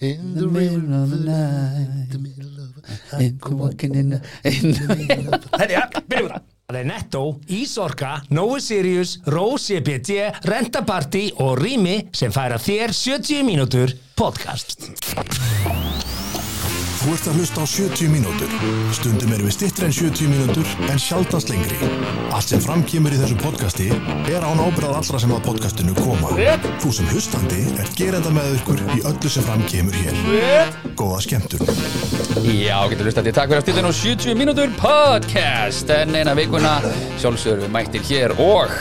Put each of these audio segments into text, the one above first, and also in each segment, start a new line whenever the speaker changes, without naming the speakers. In the middle of the night In the middle of the night Walking in the, in the middle of the
Herri, ja, byrjum við það. Það er Netto, Ísorka, Nói Sirius, Rose EPT, Rentaparty og Rými sem færa þér 70 mínútur podcast.
Þú ert að hlusta á 70 mínútur. Stundum erum við stittri en 70 mínútur en sjaldast lengri. Allt sem framkýmur í þessu podcasti er án ábyrðað allra sem að podcastinu koma. Þú sem hlustandi er gerenda með ykkur í öllu sem framkýmur hér. Góða skemmtun.
Já, getur hlustað til takk fyrir að stilla nú 70 mínútur podcast en eina vikuna sjálfsögur við mættir hér og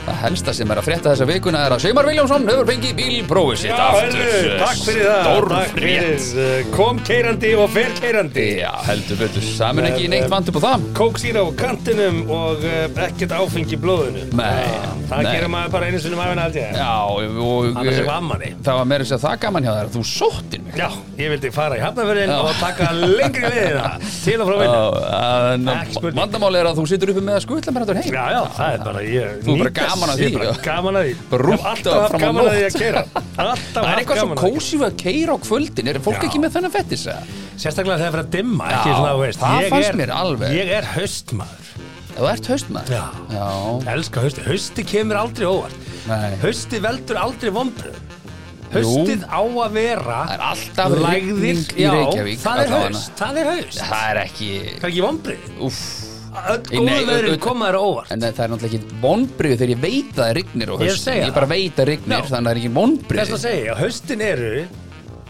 það helsta sem er að frétta þessa vikuna er að Seymar Viljámsson hefur fengið bílprófið sitt aftur
Heyrðu, Takk fyrir það Takk
Stórfrétt
fyrir, eh, Kom keirandi og fer keirandi
Já, heldur betur, það mun ekki neitt vant upp á það
Kók síra á kantinum og eh, ekkert áfengi í blóðinu Ah,
Nei,
Það
nei.
gerir maður bara einu sinni maður held ég
Já, og
Annars er það ammaði
það var meira þess að segja það gaman hjá þér að þú sóttir mig
Já, ég vildi fara í hafnafyrin
Já.
og taka lengri leiðina til og frá
Já,
vinna
en
Ekki spurning.
vandamáli er að þú situr uppi með að skutla mér heim
Já, já, það er bara ég
Þú er bara
nýt þess.
gaman að
Ég
því,
er bara
já.
Gaman að því Ég hef
Bara rúntað
Alltaf haft
fram á
gaman að því
nótt.
að keira Alltaf
Það er
haft
eitthvað svo
gaman að því
kósíf að keira á kvöldin, er fólk
Já.
ekki með þennan fettis að?
Sérstaklega þegar það er að dimma ekki
Já,
svona, þú veist,
það
ég
fannst
er-
mér alveg.
Ég er höstmaður
Ef þú ert haustmaður?
Já.
Já.
Ég elska hausti, hausti kemur aldrei óvart
Nei.
Hausti veldur aldrei vombröð
Jú.
Haustið á að vera
Það er alltaf
lægðir
rigning í Reykjavík,
Já, það er
allavega.
haust, það er haust
Það er ekki
Það er ekki vombrið
Úff
Öll
Nei,
góðu
auðvitað-
verður koma þér á óvart
En það er náttúrulega ekki vonbriðu þegar ég veit að það rignir á
Ég
haustin
segi
Ég,
það.
bara veit að rignir,
Já.
þannig að það er ekki
Þess
vonbriðu
að segja, haustin eru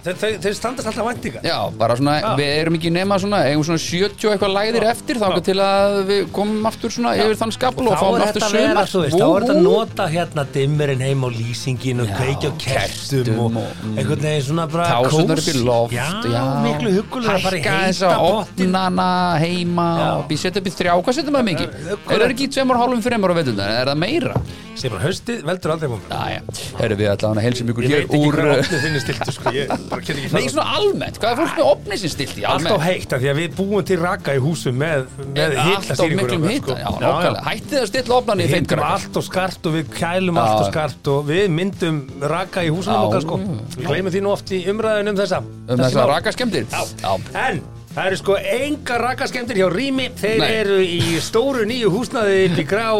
Þau, þau, þau standast alltaf væntingar
Já, bara svona,
Já.
við erum ekki nema svona, eigum svona 70 eitthvað læðir eftir þá til að við komum aftur svona yfir þann skapul og,
Þá
fáum
er
aftur
þetta að vera,
sumar.
þú veist,
Vú,
þá er þetta að
vú.
nota hérna dimmirinn heim á lýsingin og
Já,
kveikja á kertum og
kertum og, mm.
einhvern veginn svona bara
Tásurnar upp í loft,
Já, miklu hugulega að fara í
Hækka þess
heita
að
pottin
opnana heima
Já.
og býr- setja upp í þrjá, hvað setja maður mikið?
Það er-
Er það ekki í tveimur og hálfum fremur á veitundar, er það meira?
sem bara haustið veldur aldrei vonbröð
Jæja, herru við allan að heilsum ykkur
Ég
hér
veit ekki
úr uh, eh,
hvað opnið þinni stiltu sko, ég bara get ekki
Nei,
farað.
svona almennt, hvað er fólk með opni sem stilt í
Allt á
almennt?
heitt af því að við búum til raka í húsum með, með
Allt á
hitastýringur
miklum
okkar,
hita, já,
sko. Já, já.
nákvæmlega Hættið að stilla opnan í
Við
þeim
hittum
krakkar.
allt og skart og við kælum
Já,
allt og
já.
skart og við myndum raka í húsunum
Já,
okkar sko
já.
Við gleymum því nú oft í umræðunum um þessa
Um þess að
mál.
raka skemmtir
Já. En það eru sko enga rakaskemdir hjá Rými Þeir
Nei.
eru í stóru nýju húsnaði upp í grái
Já.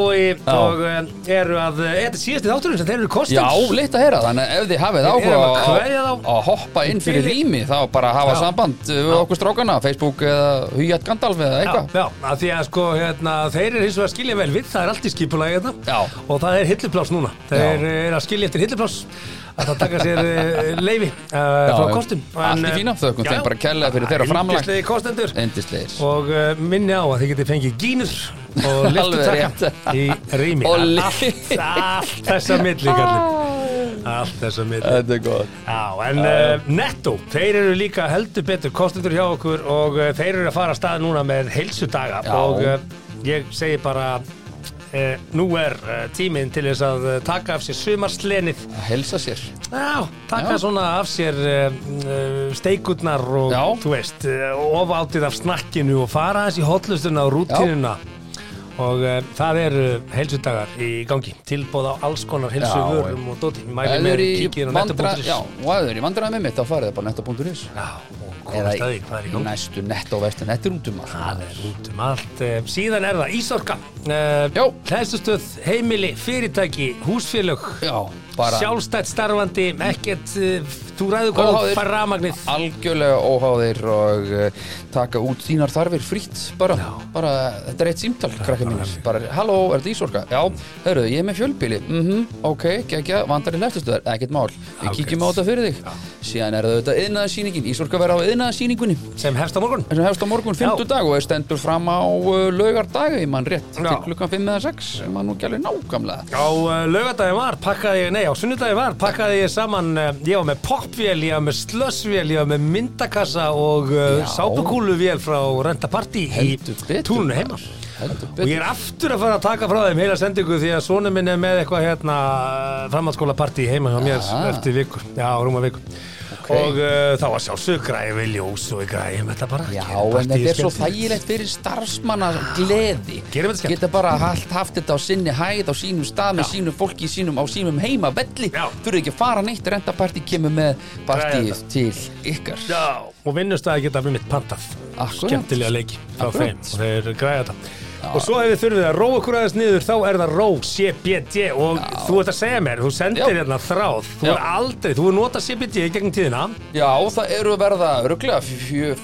og eh, eru að, eh, þetta er síðasti þátturinn sem þeir eru kostins
Já, leitt að heyra, þannig að ef þið
Við
hafið
erum
áhuga
að
á-
kveðja þá.
að hoppa inn fyrir
Fyrir-
rými þá bara hafa
Já.
samband við okkur strákana Facebook eða Huyat Gandalf eða
Já,
eitthvað
já, að því að sko, hérna, þeir eru hins vegar að skilja vel við, það er allt í skipulagi hérna
Já.
og það er hillupláss núna, þeir eh,
Já.
eru að skilja eftir hillupláss að það taka sér eh, leyfi uh,
Já,
frá
já.
kostum eh,
Allt í fína, þökkum þeim bara kærlega fyrir þeirra framlag.
Yndislegi kostendur
Endislegir
og uh, minni á að þið getið fengið gínur og
Alveg
liftu
rétt.
takka í rými
Og li-
allt, allt þessa milli kallum allt þessa milli
Þetta er gott
Já, en uh, netto, þeir eru líka heldur betur kostendur hjá okkur og uh, þeir eru að fara að stað núna með heilsudaga
Já.
og uh, ég segi bara uh, nú er uh, tíminn til þess að uh, taka af sér sumarslenið
Að helsa sér
Já, taka
Já.
svona af sér uh, uh, steikurnar og
Já.
þú veist, uh, ofátið af snakkinu og fara aðeins í hotlustuna og rútinuna og uh, það eru heilsudagar í gangi tilbóð á alls konar heilsuvörum og dóti, mæli
Ef þið
með
eru í
um kíkir á
vandra-
netto.is
Já, og ef þið eru í vandræðum með mitt þá farið það bara netto.is
Já, og
eða
komast að því hvað er í
í
gangi
næstu netto og vestu nettur út um allt
Það er út um allt. Eh, Síðan er það Ísorka,
Jó.
hlæðsustöð, heimili, fyrirtæki, húsfélög,
Já, bara
sjálfstætt starfandi, ekkert, eh, þú ræður hvað
Óháðir.
þú fær rafmagnið.
algjörlega óháðir og uh, taka út þínar þarfir frýtt bara, bara, þetta er eitt símtal krakka mínir, bara, halló, er þetta ísorka? Já, hörru, ég er með fjölbíli mhm, ok, geggja, vandar í leftustöðar ekkert mál, við kíkjum á þetta fyrir þig síðan er það auðvitað yðnaðarsýningin ísorka verða á yðnaðarsýningunni
Sem hefst á morgun.
sem hefst á morgun fimmtudag og er stendur fram á uh, laugardag, ég mann rétt, til
Já.
klukkan 5 eða 6 ég mann nú ekki alveg nákvæmlega
Á uh, lögadagi var, pakkaði ég, nei, á sunnudagi var, pakkaði ég saman, uh, ég var með popvél, ég var með slössvél, ég var með myndakassa og uh,
Já.
sápukúluvél frá Renta Party í
Heldur betur,
túnunu
maður.
heima.
Heldur
Og
betur.
ég er aftur að fara að taka frá þeim heila sendingu því að sonu minn er með eitthvað hérna framhaldsskóla partí uh, heima hjá mér
Ah.
eftir viku, já, rúma viku. og uh, þá var sjálfsög græði ljós og við græðum þetta bara
Já,
gerum
en þetta
partíið
er svo
skemmtilegt.
þægilegt fyrir starfsmanna gleði
Gerum þetta skemmt.
Geta bara haft, haft þetta á sinni hæð á sínum stað með sínum fólki í sínum á sínum heima velli
Já.
Þurfi ekki að fara neitt, rentapartí kemur með partíið til ykkar
Já, og vinnustæði geta við mitt pantað
Akkurat.
skemmtilega leiki frá
Akkurat.
þeim og þeir græða þetta og svo ef við þurfum að róa okkur aðeins niður þá er það ró, CBD og þú ert að segja mér, þú sendir
Já.
hérna þráð þú
Já.
er aldrei, þú er notað CBD í gegnum tíðina
Já, það eru að verða örglega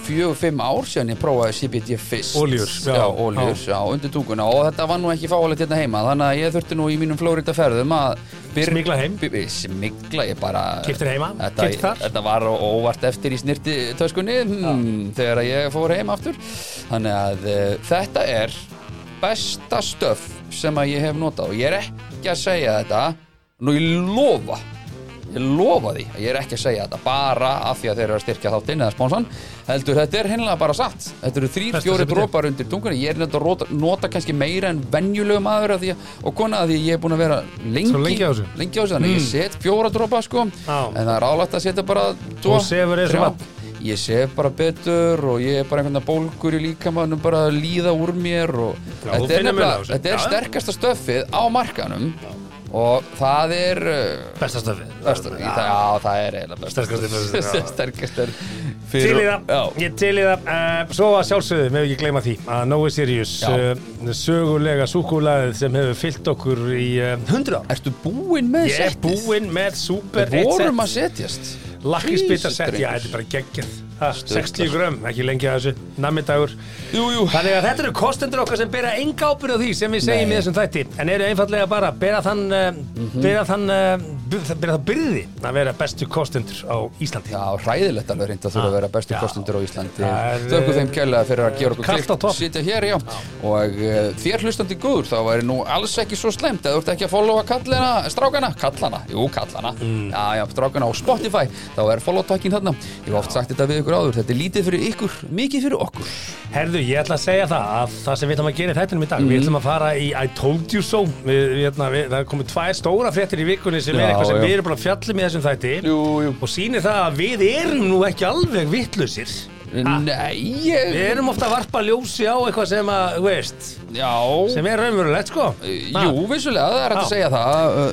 fjög-fimm ár síðan ég prófaði CBD fyrst
Óljur, já.
já, óljur, já, undir tunguna og þetta var nú ekki fáalegt hérna heima þannig að ég þurfti nú í mínum Florida ferðum að byr-
Smygla heim.
by- by- Smygla, ég bara
Keyptir heima,
þetta,
keypt þar.
þetta var ó- óvart eftir í snirti töskunni hmm, þegar að ég fór heim aftur þannig að uh, þetta er besta stöf sem að ég hef notað og ég er ekki að segja þetta nú ég lofa Ég lofa því að ég er ekki að segja þetta bara af því að þeir eru að styrkja þáttinn eða spónsan heldur þetta er hennilega bara satt þetta eru þrýr,
Besta
fjóri
sem þetta er.
drópar undir tungunni ég er nefnt að rota, nota kannski meira en venjulegu maður af því að, og kona af því að ég er búin að vera lengi,
Svo lengi á þessu. Mm.
lengi á þessu þannig ég set fjóra drópa sko
Já.
en það er álægt að setja bara tvo,
Og sefur eins og
þrjá.
vatn.
ég sef bara betur og ég er bara einhvern veginn bólgur í líkamannum bara að líða úr mér og
Já, þú
þetta er,
finnur mun á
nefnilega-
þessu.
þetta er
Já.
sterkasta stöfið á markanum og það er uh,
besta stöfið
Besta, í það, já, það er eiginlega besta
Sterkasti besta, já.
Sterkast er
Til í
fyrir
það, ég til í það uh, Svo að sjálfsögðu, með ekki gleyma því að Nói Sirius,
Já.
uh, sögulega súkulaðið sem hefur fyllt okkur í uh, 100 ár
Ertu búinn með
Ég er
settið?
búinn með super
Við vorum
eitt
að setjast
set Lakkisbita
Jesus,
set, já,
drengur.
þetta er bara geggjað Ha, 60 grömm, ekki lengi að þessu, nammidagur
Jú, jú
Þannig að þetta eru kostendur okkar sem bera enga ábyrð á því sem við segjum
Nei. Mhm.
í þessum þætti en eru einfallega bara að bera þann uh, bera þann uh, bu- bera það byrði að vera bestu kostendur á Íslandi
Já, hræðilegt alveg reynda þurfa að vera
Ah,
bestu
Já.
kostundur á Íslandi
Það er,
Þökkum þeim kjærlega fyrir að gera okkur
kalt á topp.
sitja hér, já Og uh, þér hlustandi góður, þá væri nú alls ekki svo slemt að þú ert ekki að followa kallina, strákana, kallana, jú, kallana
Mm.
Já, já, strákana á Spotify, þá er follow-takkin þarna Ég hef oft sagt þetta við ykkur áður, þetta er lítið fyrir ykkur, mikið fyrir okkur
Herðu, ég ætla að segja það að það sem við ætlum að gera í þættinum í dag
Mhm.
við ætlum að fara í I told you so við, við, ætlum að- við, það er komið tvær stóra fréttir í vikunni sem
Já,
er eitthvað sem
já.
við erum bara að fjallum í þessum þætti
Jú, jú
og sýnir það að við erum nú ekki alveg vittlausir
Nei, ég...
við erum ofta að varpa ljósi á eitthvað sem að, þú veist,
Já, Eh,
sem er raunverulegt sko Ha?
jú, vissulega, það er hægt
Já.
að segja það uh,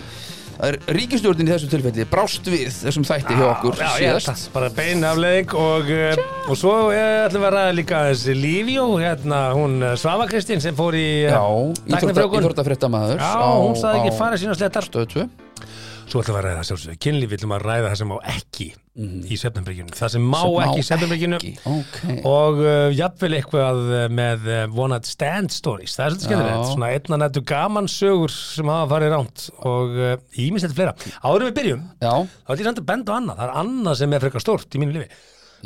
að Ríkistjórnin í þessu tilfelli brást við þessum þætti hjá okkur
Já, ég held
síðast
það, bara bein afleðing og, eh, og svo eh, ætlum við að ræða líka þessi Lífjó, hérna hún eh, Svava Kristín sem fór í eh,
Já,
tæknifrjókun.
íþróttafréttamaður
Já, hún sagði ekki fara sína slettar
stötu
Svo ætlum við að ræða sjálfsögðu, kynlíf við ætlum að ræða það sem á ekki í svefnumbryggjunum Það Mhm. sem má ekki í svefnumbryggjunum
Ok,
og uh, jafnvel eitthvað eh, með uh, One Night Stand Stories það er svolítið skemmtilegt, svona einna nættu gaman sögur sem hafa farið ránt og uh, ímislegt fleira. Áður en við byrjum
já,
þá ætlum ég samt að benda á annað, það er annað sem er frekar stórt í mínu lífi.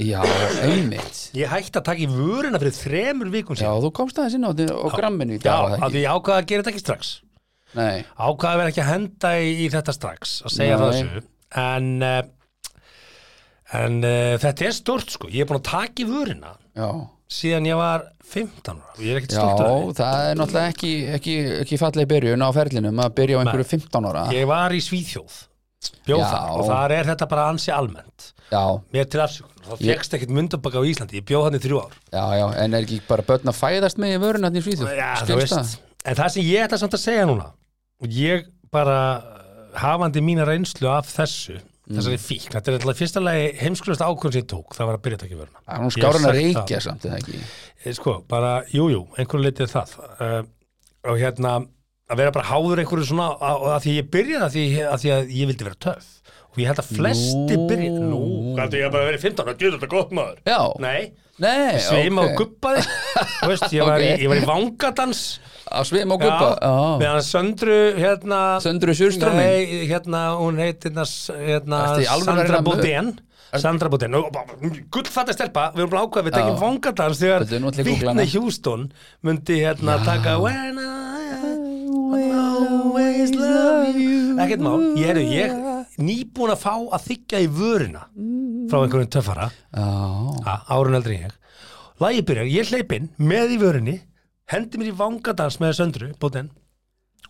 já, einmitt
Ég hætti að taka í vöruna fyrir þremur vikum
Já,
síðan
þú komst aðeins inn á, þetta- á gramminu í
Já,
dag, var
af
það
því ég ákvaða að gera þetta ekki strax
ekki Nei,
Ákvaða að vera ekki að henda í, í þetta strax að segja það
Nei.
þessu En, eh, en uh, þetta er stort sko, ég er búin að taka í vöruna
já
síðan ég var 15 ára og ég er ekkert
Já,
stoltur af því.
það er náttúrulega ekki, ekki, ekki falleg byrjun á ferlinum að byrja á einhverju 15 ára
Ég var í Svíþjóð bjóð
Ah. Já.
þar og þar er þetta bara ansi almennt
Já,
Mér til afsökun, þá
Ég-
fegst ekkert myndabaka á Íslandi, ég bjóð hann í þrjú ár
Já, já, en er ekki bara börn að fæðast með í vörun hann í Svíþjóð?
Já, þú
Skilst
veist, en það sem ég ætla samt að segja núna og ég bara uh, hafandi mína reynslu af þessu þessari fík, þetta er alltaf fyrsta lagi heimskulast ákvörn sem ég tók, það var að byrja að taka í vöruna
Það er
Ég
hún
hef
skárun að
sagt
reykja samt, eða ekki?
Eh, sko, bara, jú, jú, einhverju litið það uh, og hérna að vera bara háður einhverju svona að, að því ég byrjaði að því, að því að ég vildi vera töf og ég held að flesti
Nú.
byrja nú, gæti ég bara verið 15 að gera þetta gott maður
Já,
nei,
nei,
sveima
ok.
og guppaði Þú veist, ég var,
Ok.
í, ég var í vangadans
Á sveim og guppa, já,
með hann Söndru hérna
Söndru Sjurströmming?
Nei, hérna, hún heit hérna, s- hérna
Ertu í alvöru að
Sandra
reyna að mu-
Bodén Sandra Bodén, gullfatta stelpa við erum bara ákvað, við tekjum
Já.
vangadans
Þetta er
þegar
nú allir Google hana.
Whitney Houston myndi hérna taka When I always love you ekkert má, ég er ég nýbúin að fá að þykja í vörina frá einhverjum töffara
já,
Ha, árun eldri en ég Lagi byrjar, ég hleyp inn með í vörinni hendi mér í vangadans með söndru bóten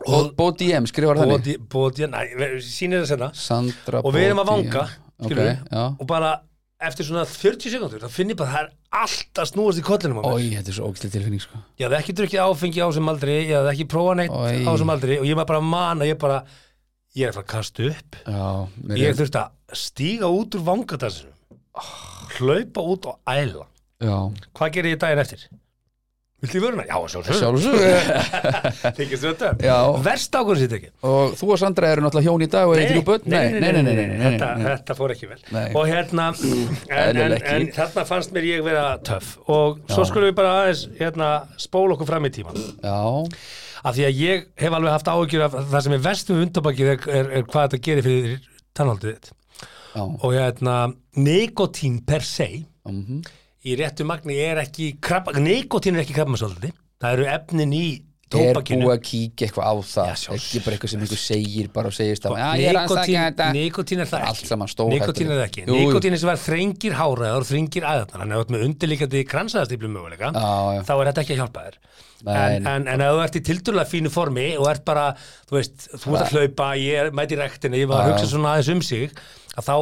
og Bó DM skrifar þannig
bóten, næ, sýnir það senna
Sandra
og við erum að
Bo
vanga
DM.
skilur,
Ok, já,
og bara eftir svona 40 sekundur þá finn ég bara að það er allt að snúast í kollinum á mér
Ói, þetta er svo ógæslega tilfinning sko
ég hafði ekki drukkið áfengi á þessum aldri ég hafði ekki prófað neitt
Oj.
á þessum aldri og ég var bara að mana, ég bara ég er að fara að kasta upp
Já, mér
ég þurfti að stíga út úr vangadansinum hlaupa út og æla
Já,
hvað gerir ég daginn eftir? Viltu í vöruna? Já, sjálfsög
sjálfsög
Þykist þetta?
Já.
Verst ákvörðu sér tekið
Og þú og Sandra eru náttúrulega hjón í dag og eitthvað börn
þetta, þetta fór ekki vel
Nei.
og hérna en, en,
Eðlilega ekki.
en þarna fannst mér ég vera töff og svo skulum við bara aðeins hérna, spóla okkur fram í tíman
Já,
af því að ég hef alveg haft áhyggjur af það sem er verst með undabakið er, er, er hvað þetta gerir fyrir tannhaldið þitt
já
og hérna nikotín per se
mhm.
í réttu magni er ekki krabba, nikotín er ekki krabbamansaldið það eru efnin í
Er búið
tóbakinu
að kíkja eitthvað á það
Já, sjálfs-
Ekki bara eitthvað sem einhver segir bara og segist það Já, ég er aðeins að
Nikótín-
þetta
Nikótín er það
Allt
ekki
saman stórhættulegt.
Nikótín er það ekki
Jú, jú.
Nikótín er sem var þrengir háræðar og þrengir æðarnar Þannig að þú ert með undirlíkandi kransaðastíflum möguleika
Já, já.
Þá er þetta ekki að hjálpa þér
Nei,
En,
nei.
en, en ef þú ert í tildulega fínu formi og ert bara, þú veist, þú ert að hlaupa ég er mæti í rektina, ég var að hugsa svona aðeins um sig að þá,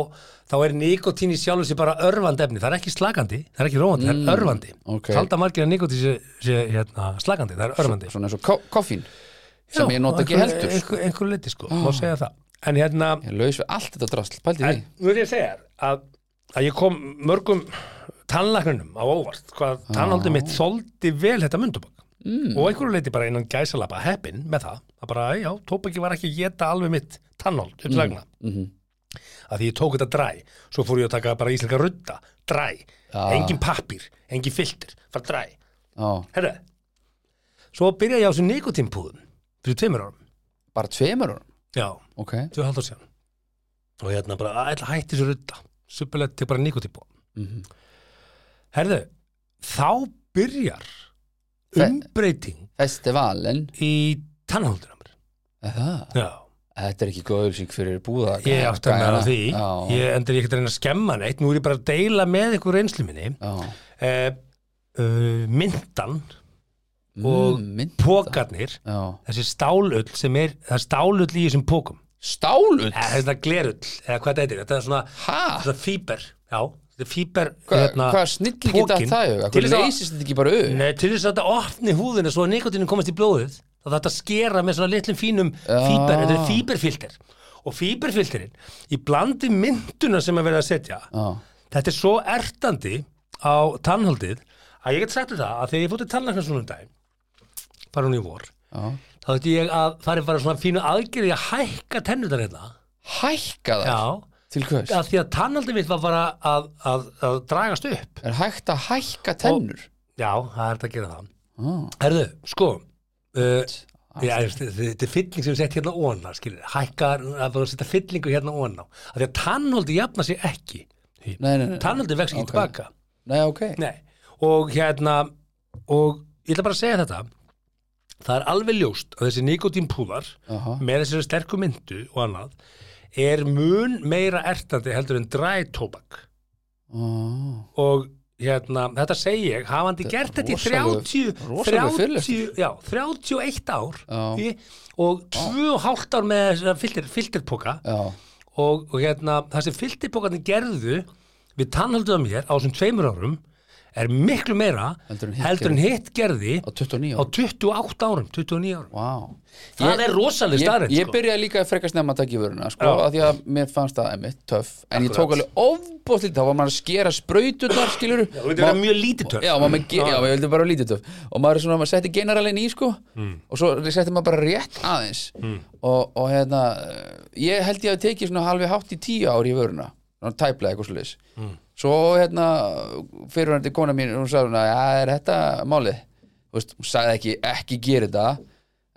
þá er nikotín í sjálfu sér bara örvandi efni, það er ekki slagandi það er ekki róandi, það er örvandi
Mm, ok.
Halda margir að nikotín sé, sé hérna, slagandi, það er örvandi
Svona eins og ko- koffín Sem
Já,
ég nota ekki
einhver-
heldur sko.
einhver, einhver liti sko, má segja það en hérna,
Ég er laus við allt þetta drasl, pældi því
en, nú er ég að segja þér að, að ég kom mörgum tannlagnunum á óvart hvað tannhaldið mitt þoldi vel þetta mundubak mm. og einhverju leiti bara innan gæsalapa heppin með það, að bara, já, tóbaki var ekki að geta alveg mitt tannhold upp til lagna
Mhm.
að því ég tók þetta dræ svo fór ég að taka bara íslenska rudda dræ,
Já.
engin pappír engin filter, bara dræ
Já,
Herra, svo byrja ég á þessu nikotínpúðum fyrir tveimur árum
bara tveimur árum
Já,
Ok,
tvö haldur síðan og hérna bara, að ætla að hætti þessu rudda supulegt til bara nikotípo
Mhm.
Herðu, þá byrjar
Þe-
umbreyting
festivalin
í tannhóldunum
Er það?
Já,
Þetta er ekki góðulsing fyrir búða
ég átti að meða
gæjana.
því
Já,
ég endur ég ekkert að reyna að skemma neitt nú er ég bara að deila með ykkur reynslu minni
já
eh, uh, myndan Og
Mm, mynd-
pókarnir,
Já
þessi stálull sem er, það er stálull í þessum pókum
Stálull?
eða þessi glerull, eða hvað þetta heitir þetta er svona
Hæ?
Eh, þetta er fíber, já, þetta er fíber
Hva, hvað snillir geta
pokinn.
það hug?
Til
Hvað
þess að-
leysist þetta ekki bara upp?
Nei, til þess að þetta opni húðina svo að nikotinu komast í blóðið þá þarf þetta að skera með svona litlum fínum fíber, þetta er fíberfilter og fíberfilterinn, í blandi mynduna sem er verið að setja
Já,
þetta er svo ertandi á tannhaldið að ég get sagt þér það að þegar ég fótti tannlækna svona um daginn bara hún í vor
já
þá þetta ég að það er bara svona fínu aðgerði að hækka tennurnar hérna
Hækka það?
já,
Til hvers?
að því að tannhaldið mitt var bara að, að, að dragast upp
Er hægt að hækka tennur?
já, það er þetta að gera það
Já,
Herðu, sko uh, já, veist, Þetta er fylling sem er sett hérna óna skilur, hækkar, að þú setja fyllingu hérna óna af því að tannholdi jafna sig ekki
Nei, nei, nei.
Tannholdi vex ekki
Ok.
tilbaka
Nei, ok
Nei. og hérna og ég ætla bara að segja þetta það er alveg ljóst að þessi nikotínpúðar
Aha.
með þessari sterku myndu og annað er mun meira ertandi heldur en drætóbak
Já.
og hérna, þetta segi ég hafandi gert þetta í
rosalegu-
30,
rosalegu
30
fyrirlestur.
já, 31 ár
Já.
í, og 2,5 ár með þessa filter, filterpoka
Já,
og, og hérna, það sem filterpokarnir gerðu við tannhalduða mér á þessum tveimur árum er miklu meira
Heldur en hitt
heldur en hitt gerði
á 29
á 28 árum, 29 árum
Vá
það er rosaleg
Ég,
starrið
ég
sko.
byrjaði líka að frekast nefna að taka í vöruna sko,
Já.
að því að mér fannst það emitt töff en ég tók alveg ofbóðslega þá var maður að skera sprautunar skilur já,
þetta er mjög lítið törn
Já, maður með, ge- já, ég vildi bara lítið töf og maður er svona, maður setti generalin í sko
Mm.
og svo setti maður bara rétt aðeins og, og hérna eh, ég held ég að tekið svona halvi hátt í tíu ár í vöruna, svona tæplega eitthvað sliðis
Mm.
svo hérna fyrirvændi kona mín, hún sagði svona, já, er þetta málið, þú veist, hún sagði ekki ekki gera þetta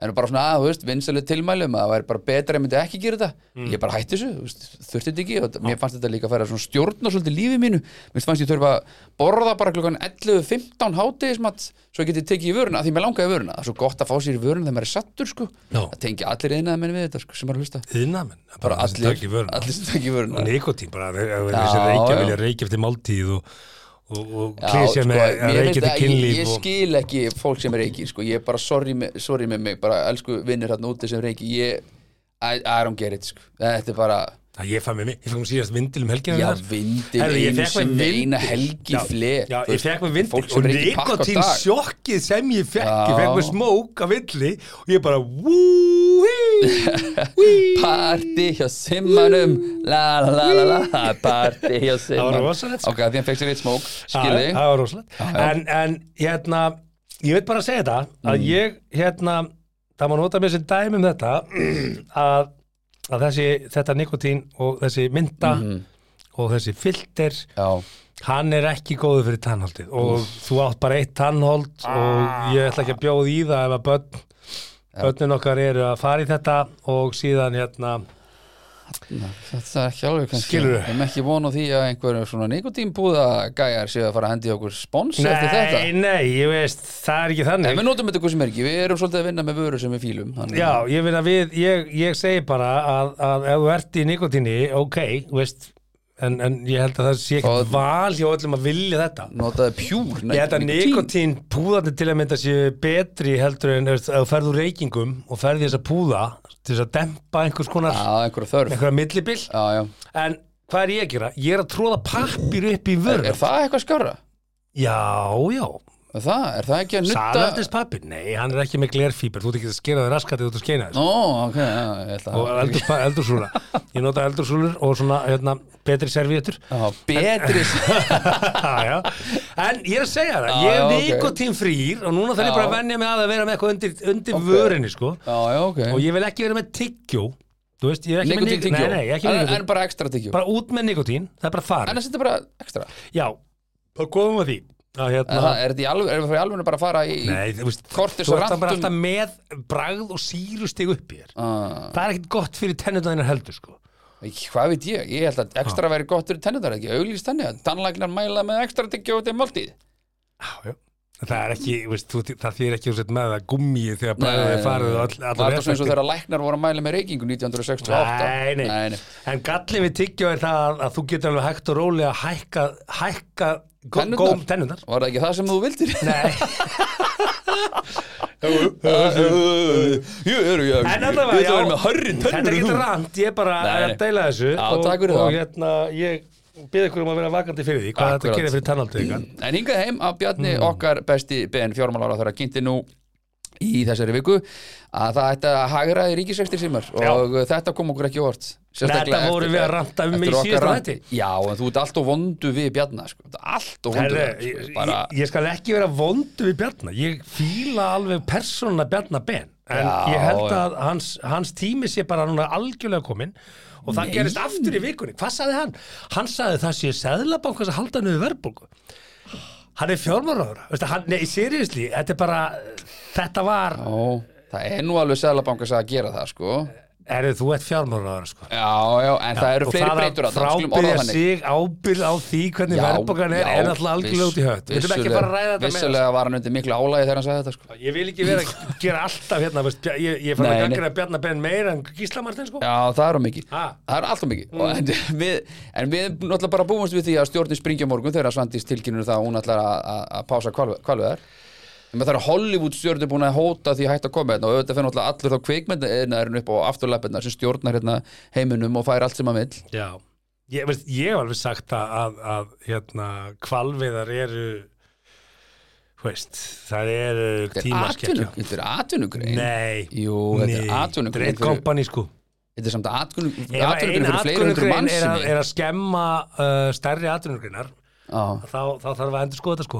en bara svona, að, þú veist, vinsalið tilmælum að það væri bara betra að myndi ekki gera þetta
Mm.
ég bara hætti þessu, þú veist, þurfti þetta ekki og þetta- mér fannst þetta líka að færa svona stjórn og svolítið lífi mínu mér fannst ég þurfa að borða bara klukkan 11.15 hátegismat svo ég geti tekið í vöruna, af því mér langaði í vöruna það er svo gott að fá sér í vöruna þegar maður er sattur sko.
Já.
það tengi allir einað menn við þetta sko, sem maður hlusta
Iðnaðarmenn,
bara
bara þessi
allir,
tæki í vöruna.
allir sem tekið í vöruna
og nikotín bara þeir- ef
Já,
þessi reykja
já.
vilja reykja eftir máltíð og, og, og
Já, sko,
klísja með að
mér
reykja
finnst
eftir
að ég, ég
kynlíf og,
skil ekki fólk sem reykir sko. ég er bara sorry með, sorry með mig bara elsku vinnir hérna úti sem reykir ég, I, I don't get it sko. þetta er bara
Æ, Ég fæ mér, ég fæ mér síðast vindil um helgina
Já,
þar.
vindil
Herðu, ég
einu
fékk mér
sinni
vindil.
eina helgi
Já,
flek
Já, ég
þú veist,
fekk mér vindil
Fólk sem
og
er ekki pakk á
nikotín
dag
sjokkið sem ég fekk,
Já.
ég fekk mér smók af villi og ég bara wúi
Parti hjá simmanum La la la la la Parti hjá
var
simmanum
rosalegt, sko.
Ok, því hann fekk sér eitt smók Skilði
Það var rosalega en, en hérna, ég veit bara að segja þetta
Mm.
að ég, hérna það má nota mér sem dæmi um þetta að, að þessi, þetta nikotín og þessi mynda
Mhm.
og þessi filter
Já,
Hann er ekki góður fyrir tannholdið og þú átt bara eitt tannhold
Ah.
og ég ætla ekki að bjóða í það ef að börn, börnin okkar eru að fara í þetta og síðan hérna
þetta er ekki alveg kannski
Skilurðu?
Við erum ekki vonu því að einhverjum svona nikotínbúða gæjar séu að fara að hendi okkur spons eftir þetta
Nei, nei, ég veist, það er ekki
En
þannig
við notum þetta hvað sem er ekki, við erum svolítið að vinna með vöru sem við fýlum þannig-
Já, ég veit að við, ég, ég segi bara að, að ef þú ert í nikotinni, ok, þú veist en, en ég held að það sé ekki
Og-
val hjá öllum að vilja þetta
Notaði pjúr
Ég held að nikotín púðarnir til að mynda séu betri heldur en þú veist, ef þú ferð úr reykingum og ferði þess að púða til þess að dempa einhvers konar
Já, einhverja þörf
einhverja millibill
Já, já.
en hvað er ég að gera? Ég er að tróða pappir upp í vörð
Er það eitthvað skara?
Já, já,
Er það, er það ekki að nutta?
salernis pappir Nei, hann er ekki með glerfíber, þú ert ekki að skera þér raskatið út að skeina þess
Ó, ok, já, ég ætla
og
að
eldurs, eldursúla Ég nota eldursúlur og svona hérna, betri servíetur
Já, betri
Já, já. En ég er að segja það,
Já,
ég
já,
er
ok.
nikotín frýr og núna þarf ég
Já.
bara að venja mig að að vera með eitthvað undir, undir vörinni sko.
Já, já, ok
og ég vil ekki vera með tyggjó þú veist, ég er ekki
Nikotín
með nik-
tyggjó
nei, nei, ég er ekki með
en,
nikotín,
en bara ekstra tyggjó
bara út með nikotín það er bara þar,
Annars er þetta bara ekstra
já, þá komum við að því að
En
hérna
það er þetta í alveg, er það fyrir alveg bara að fara í
nei, þú veist,
kortis
þú
og
ert það bara
rantum.
alltaf með bragð og sírustig upp í þér
Ah,
það er ekkert gott fyrir tennutæðina heldur sko
ekki, Hvað veit ég? Ég held að
Ah.
ekstra væri gott fyrir tennundar ekki Auglýst þannig að tannlæknar mæla með ekstra tyggjó til máltíð
já, já Það er ekki, þú veist, þú, það þýr ekki þú sett með það gummið þegar
Nei,
bræðið
nei,
er farið og
nei.
all,
Var
allar
þetta svona eins og þegar læknar voru að mæla með reykingu 1968
Nei, nei.
nei, nei.
En gallin við tyggjó er það að, að þú getur alveg hægt og rólega að hækka, hækka gó-
Tennurnar?
góm tennundar
Var það ekki það sem þú vildir?
Nei,
Jú, eru, já
En allavega,
Þetta var með hörri
Þetta er
tönnur
ekki rand, ég er bara
Nei.
að deila þessu
Já,
og,
takk fyrir
og
það.
hérna, ég byrði ykkur um að vera vakandi fyrir því hvað þetta
Akkurat.
gerir fyrir tannaldið ykkar
En hingað heim að Bjarni okkar besti BN fjármálar á þeirra kynnti nú í þessari viku að það ætti að hagra í ríkisvextir símar og þetta kom okkur ekki óvart Sérstaklega
Þetta voru
eftir-
við að ranta um
eftir
í
okkar
síðasta
rant.
þætti.
Já, en þú ert allt og vondu við Bjarni sko. Allt og vondu
Herre,
við
ég,
sko. bara,
ég- ég skal ekki vera vondu við Bjarnar ég fíla alveg persónuna Bjarnar Ben en
Já,
ég held
já.
að hans, hans tími sé bara núna algjörlega kominn og það gerist aftur í vikunni hvað saði hann? Hann saði það sé seðlabankans að halda niður verðbólgu hann er fjármáraður nei, seriously, þetta er bara þetta var,
Ó, Það er nú alveg Sælabankas að gera það sko.
erðu þú ert fjármáraður sko
Já, já, en það eru
og
fleiri
það
breytur
að
þarna, skulum orða
frábyrja
þannig.
sig ábyrð á því hvernig
Já,
verðbókan er
já,
er alltaf algjörlega
viss-
út í hött við viljum ekki
vissulega-
bara ræða þetta með
Vissulega var hann undir miklu álægi þegar hann sagði þetta sko.
þessu. ég vil ekki vera að gera alltaf hérna veist, Bja- ég, ég fann
Nei,
að
nei.
gangra Bjarnar Ben meira en Gísla Martin sko
Já, það er á mikið
Ha?
Það er alltaf mikið mm. en, við, en við náttúrulega bara búumst við því að stjórnin springi á morgun þegar Svandís tilkynur það að hún ætlar að- að að pása kvalveðar En það er Hollywood stjórnir búin að hóta því að hætta að koma hérna og auðvitað fyrir náttúrulega allur þá kvikmyndaðirnaðurinn upp á afturlappirnar sem stjórnar hérna heiminum og fær allt sem að vill
já. Ég, veist, ég hef alveg sagt að, að, að hérna, kvalviðar eru þú veist, það eru tímaskekkja
Þetta er atvinnugrein
nei,
Jú, þetta er atvinnugrein
dreitt
fyrir-
kompani sko
Þetta er samt atvinnugrein
ef ein
fyrir fleiri hundru
atvinnugrein er, að-
mannsinni
er að skemma uh, stærri atvinnugreinar
Já,
þá, þá þarf að endur skoða þetta sko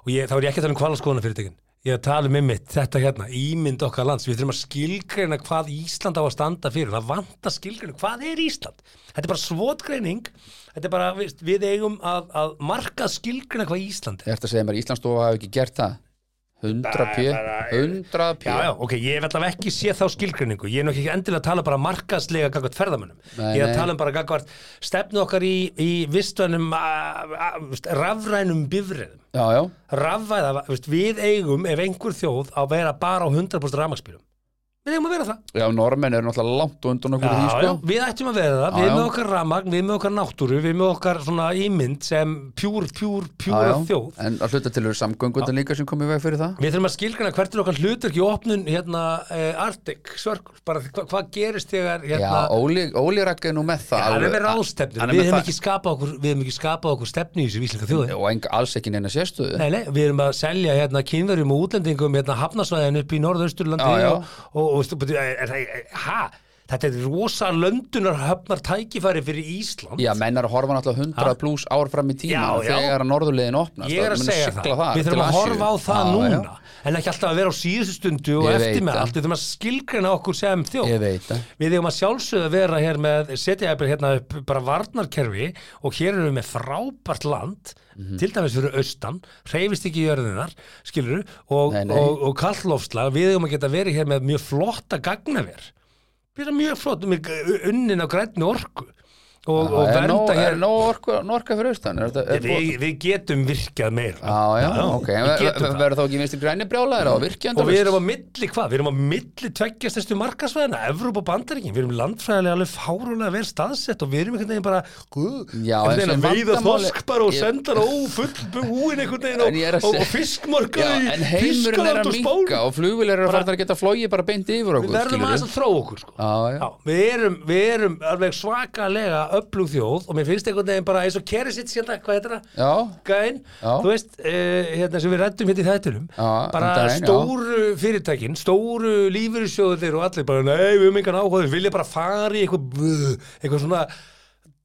og ég, þá er ég ekki að tala um hvalaskoðuna fyrirtekin ég er að tala um einmitt þetta hérna ímynd okkar lands, við þurfum að skilgreina hvað Ísland á að standa fyrir, það vantar skilgreina hvað er Ísland, þetta er bara svotgreining þetta er bara, við, við eigum að, að marka skilgreina hvað Ísland er
Þetta segir mér, Íslandsstofa hafi ekki gert það 100 p, 100 p
Já, já, ok, ég hef alltaf ekki séð þá skilgreiningu ég er nú ekki endilega að tala bara markaslega gagvart ferðamönnum,
Nei,
ég er
nei.
að tala um bara gagvart stefnu okkar í, í vistvænum a- a- rafrænum bifriðum
Já, já,
rafvæða, veist, við eigum ef einhver þjóð að vera bara á 100% rafmagnspílum við við eigum að vera það
Já, normenn eru náttúrulega langt og undan okkur í því,
já, já,
sko.
við ættum að vera það,
Já,
við
já.
með okkar ramagn, við með okkar náttúru við með okkar svona ímynd sem pjúr, pjúr, pjúra þjóð
En að hluta til eru samgöngundan líka sem komið veg fyrir það.
Við þurfum að skilgrana hvert er okkar hlutverk í opnun hérna eh, Arctic Circle, bara hva, hvað gerist þegar
Já,
hérna,
Óli, Óli Raggi er nú með það.
hann er með
alveg-
ráðstefnu,
hann er
við
með
hefum
það-
ekki skapað okkur, við hefum ekki skapað okkur stefnu í þessu vísleika þjóði.
Og eng, alls ekki neina sérstöðu.
Nei, nei, við erum að selja hérna kynverjum og útlendingum hérna hafnasvæðin upp í norðausturlandi
Já, já.
og, og, og stu- betur, er, er, er, ha, þetta er rosa löndunar höfnar tækifæri fyrir Ísland.
Já, menn er að horfa náttúrulega 100 pluss ár fram í tíma
Já, já.
þegar að norðurlegin opnast.
Ég er að
munu
segja
sigla
það, við
til
þurfum að
Asíu.
horfa á það
Já, já.
núna en ekki alltaf að vera á síðustu stundu og
Ég
eftir
veit
með
það.
allt, við þurfum að skilgreina okkur sem þjóð
Ég veit það.
Við eigum að sjálfsögðu að vera hér með setja eða hérna upp bara varnarkerfi og hér erum við með frábært land
Mhm.
til dæmis fyrir austan hreyfist ekki í jörðinar, skilur og,
Nei, nei.
og, og kalllofslag við eigum að geta verið hér með mjög flotta gagnaver við erum mjög flott með unnin á grænni orku og, og
Er
vernda
nóg-
hér
Er nóg orka, orka fyrir austan? Er, þetta- er,
við, við getum virkað meira
Já, já, ok, en
við getum það
verður þá ekki vinstri græni brjálæðir á virkjandi
og við erum á milli hvað, við erum á milli tveggjastestu markasvæðina, Evróp og Bandaríkin við erum landfræðilega alveg fárulega vel staðsett og við erum einhvern veginn bara guð,
Já,
einhvern veginn
en
að
sem
veiða
vandamáli-
þosk bara og
Ég-
senda hann ófull búin einhvern veginn
En ég er að
og, og,
segja-
og fiskmarkaði
En
í
heimurinn
Þýskaland
er að
og
minka
Spán
og flugvilir eru að
Bara-
fara að geta flogið bara beint yfir okkur
við verðum
skilurðu.
aðeins að þróa okkur sko.
Já, já.
við, erum, við erum alveg svakalega öflug þjóð og mér finnst einhvern veginn bara eins og keri sitt sérna, hvað heitir það?
Já,
gæn,
Já.
þú veist uh, hérna sem við rættum hérna í þættinum
Já,
bara
um daginn, já.
stóru fyrirtækin stóru lífyrirsjóðunir og allir bara nei, við höfum engan áhuga, við vilja bara fara í eitthvað, bluh, eitthvað svona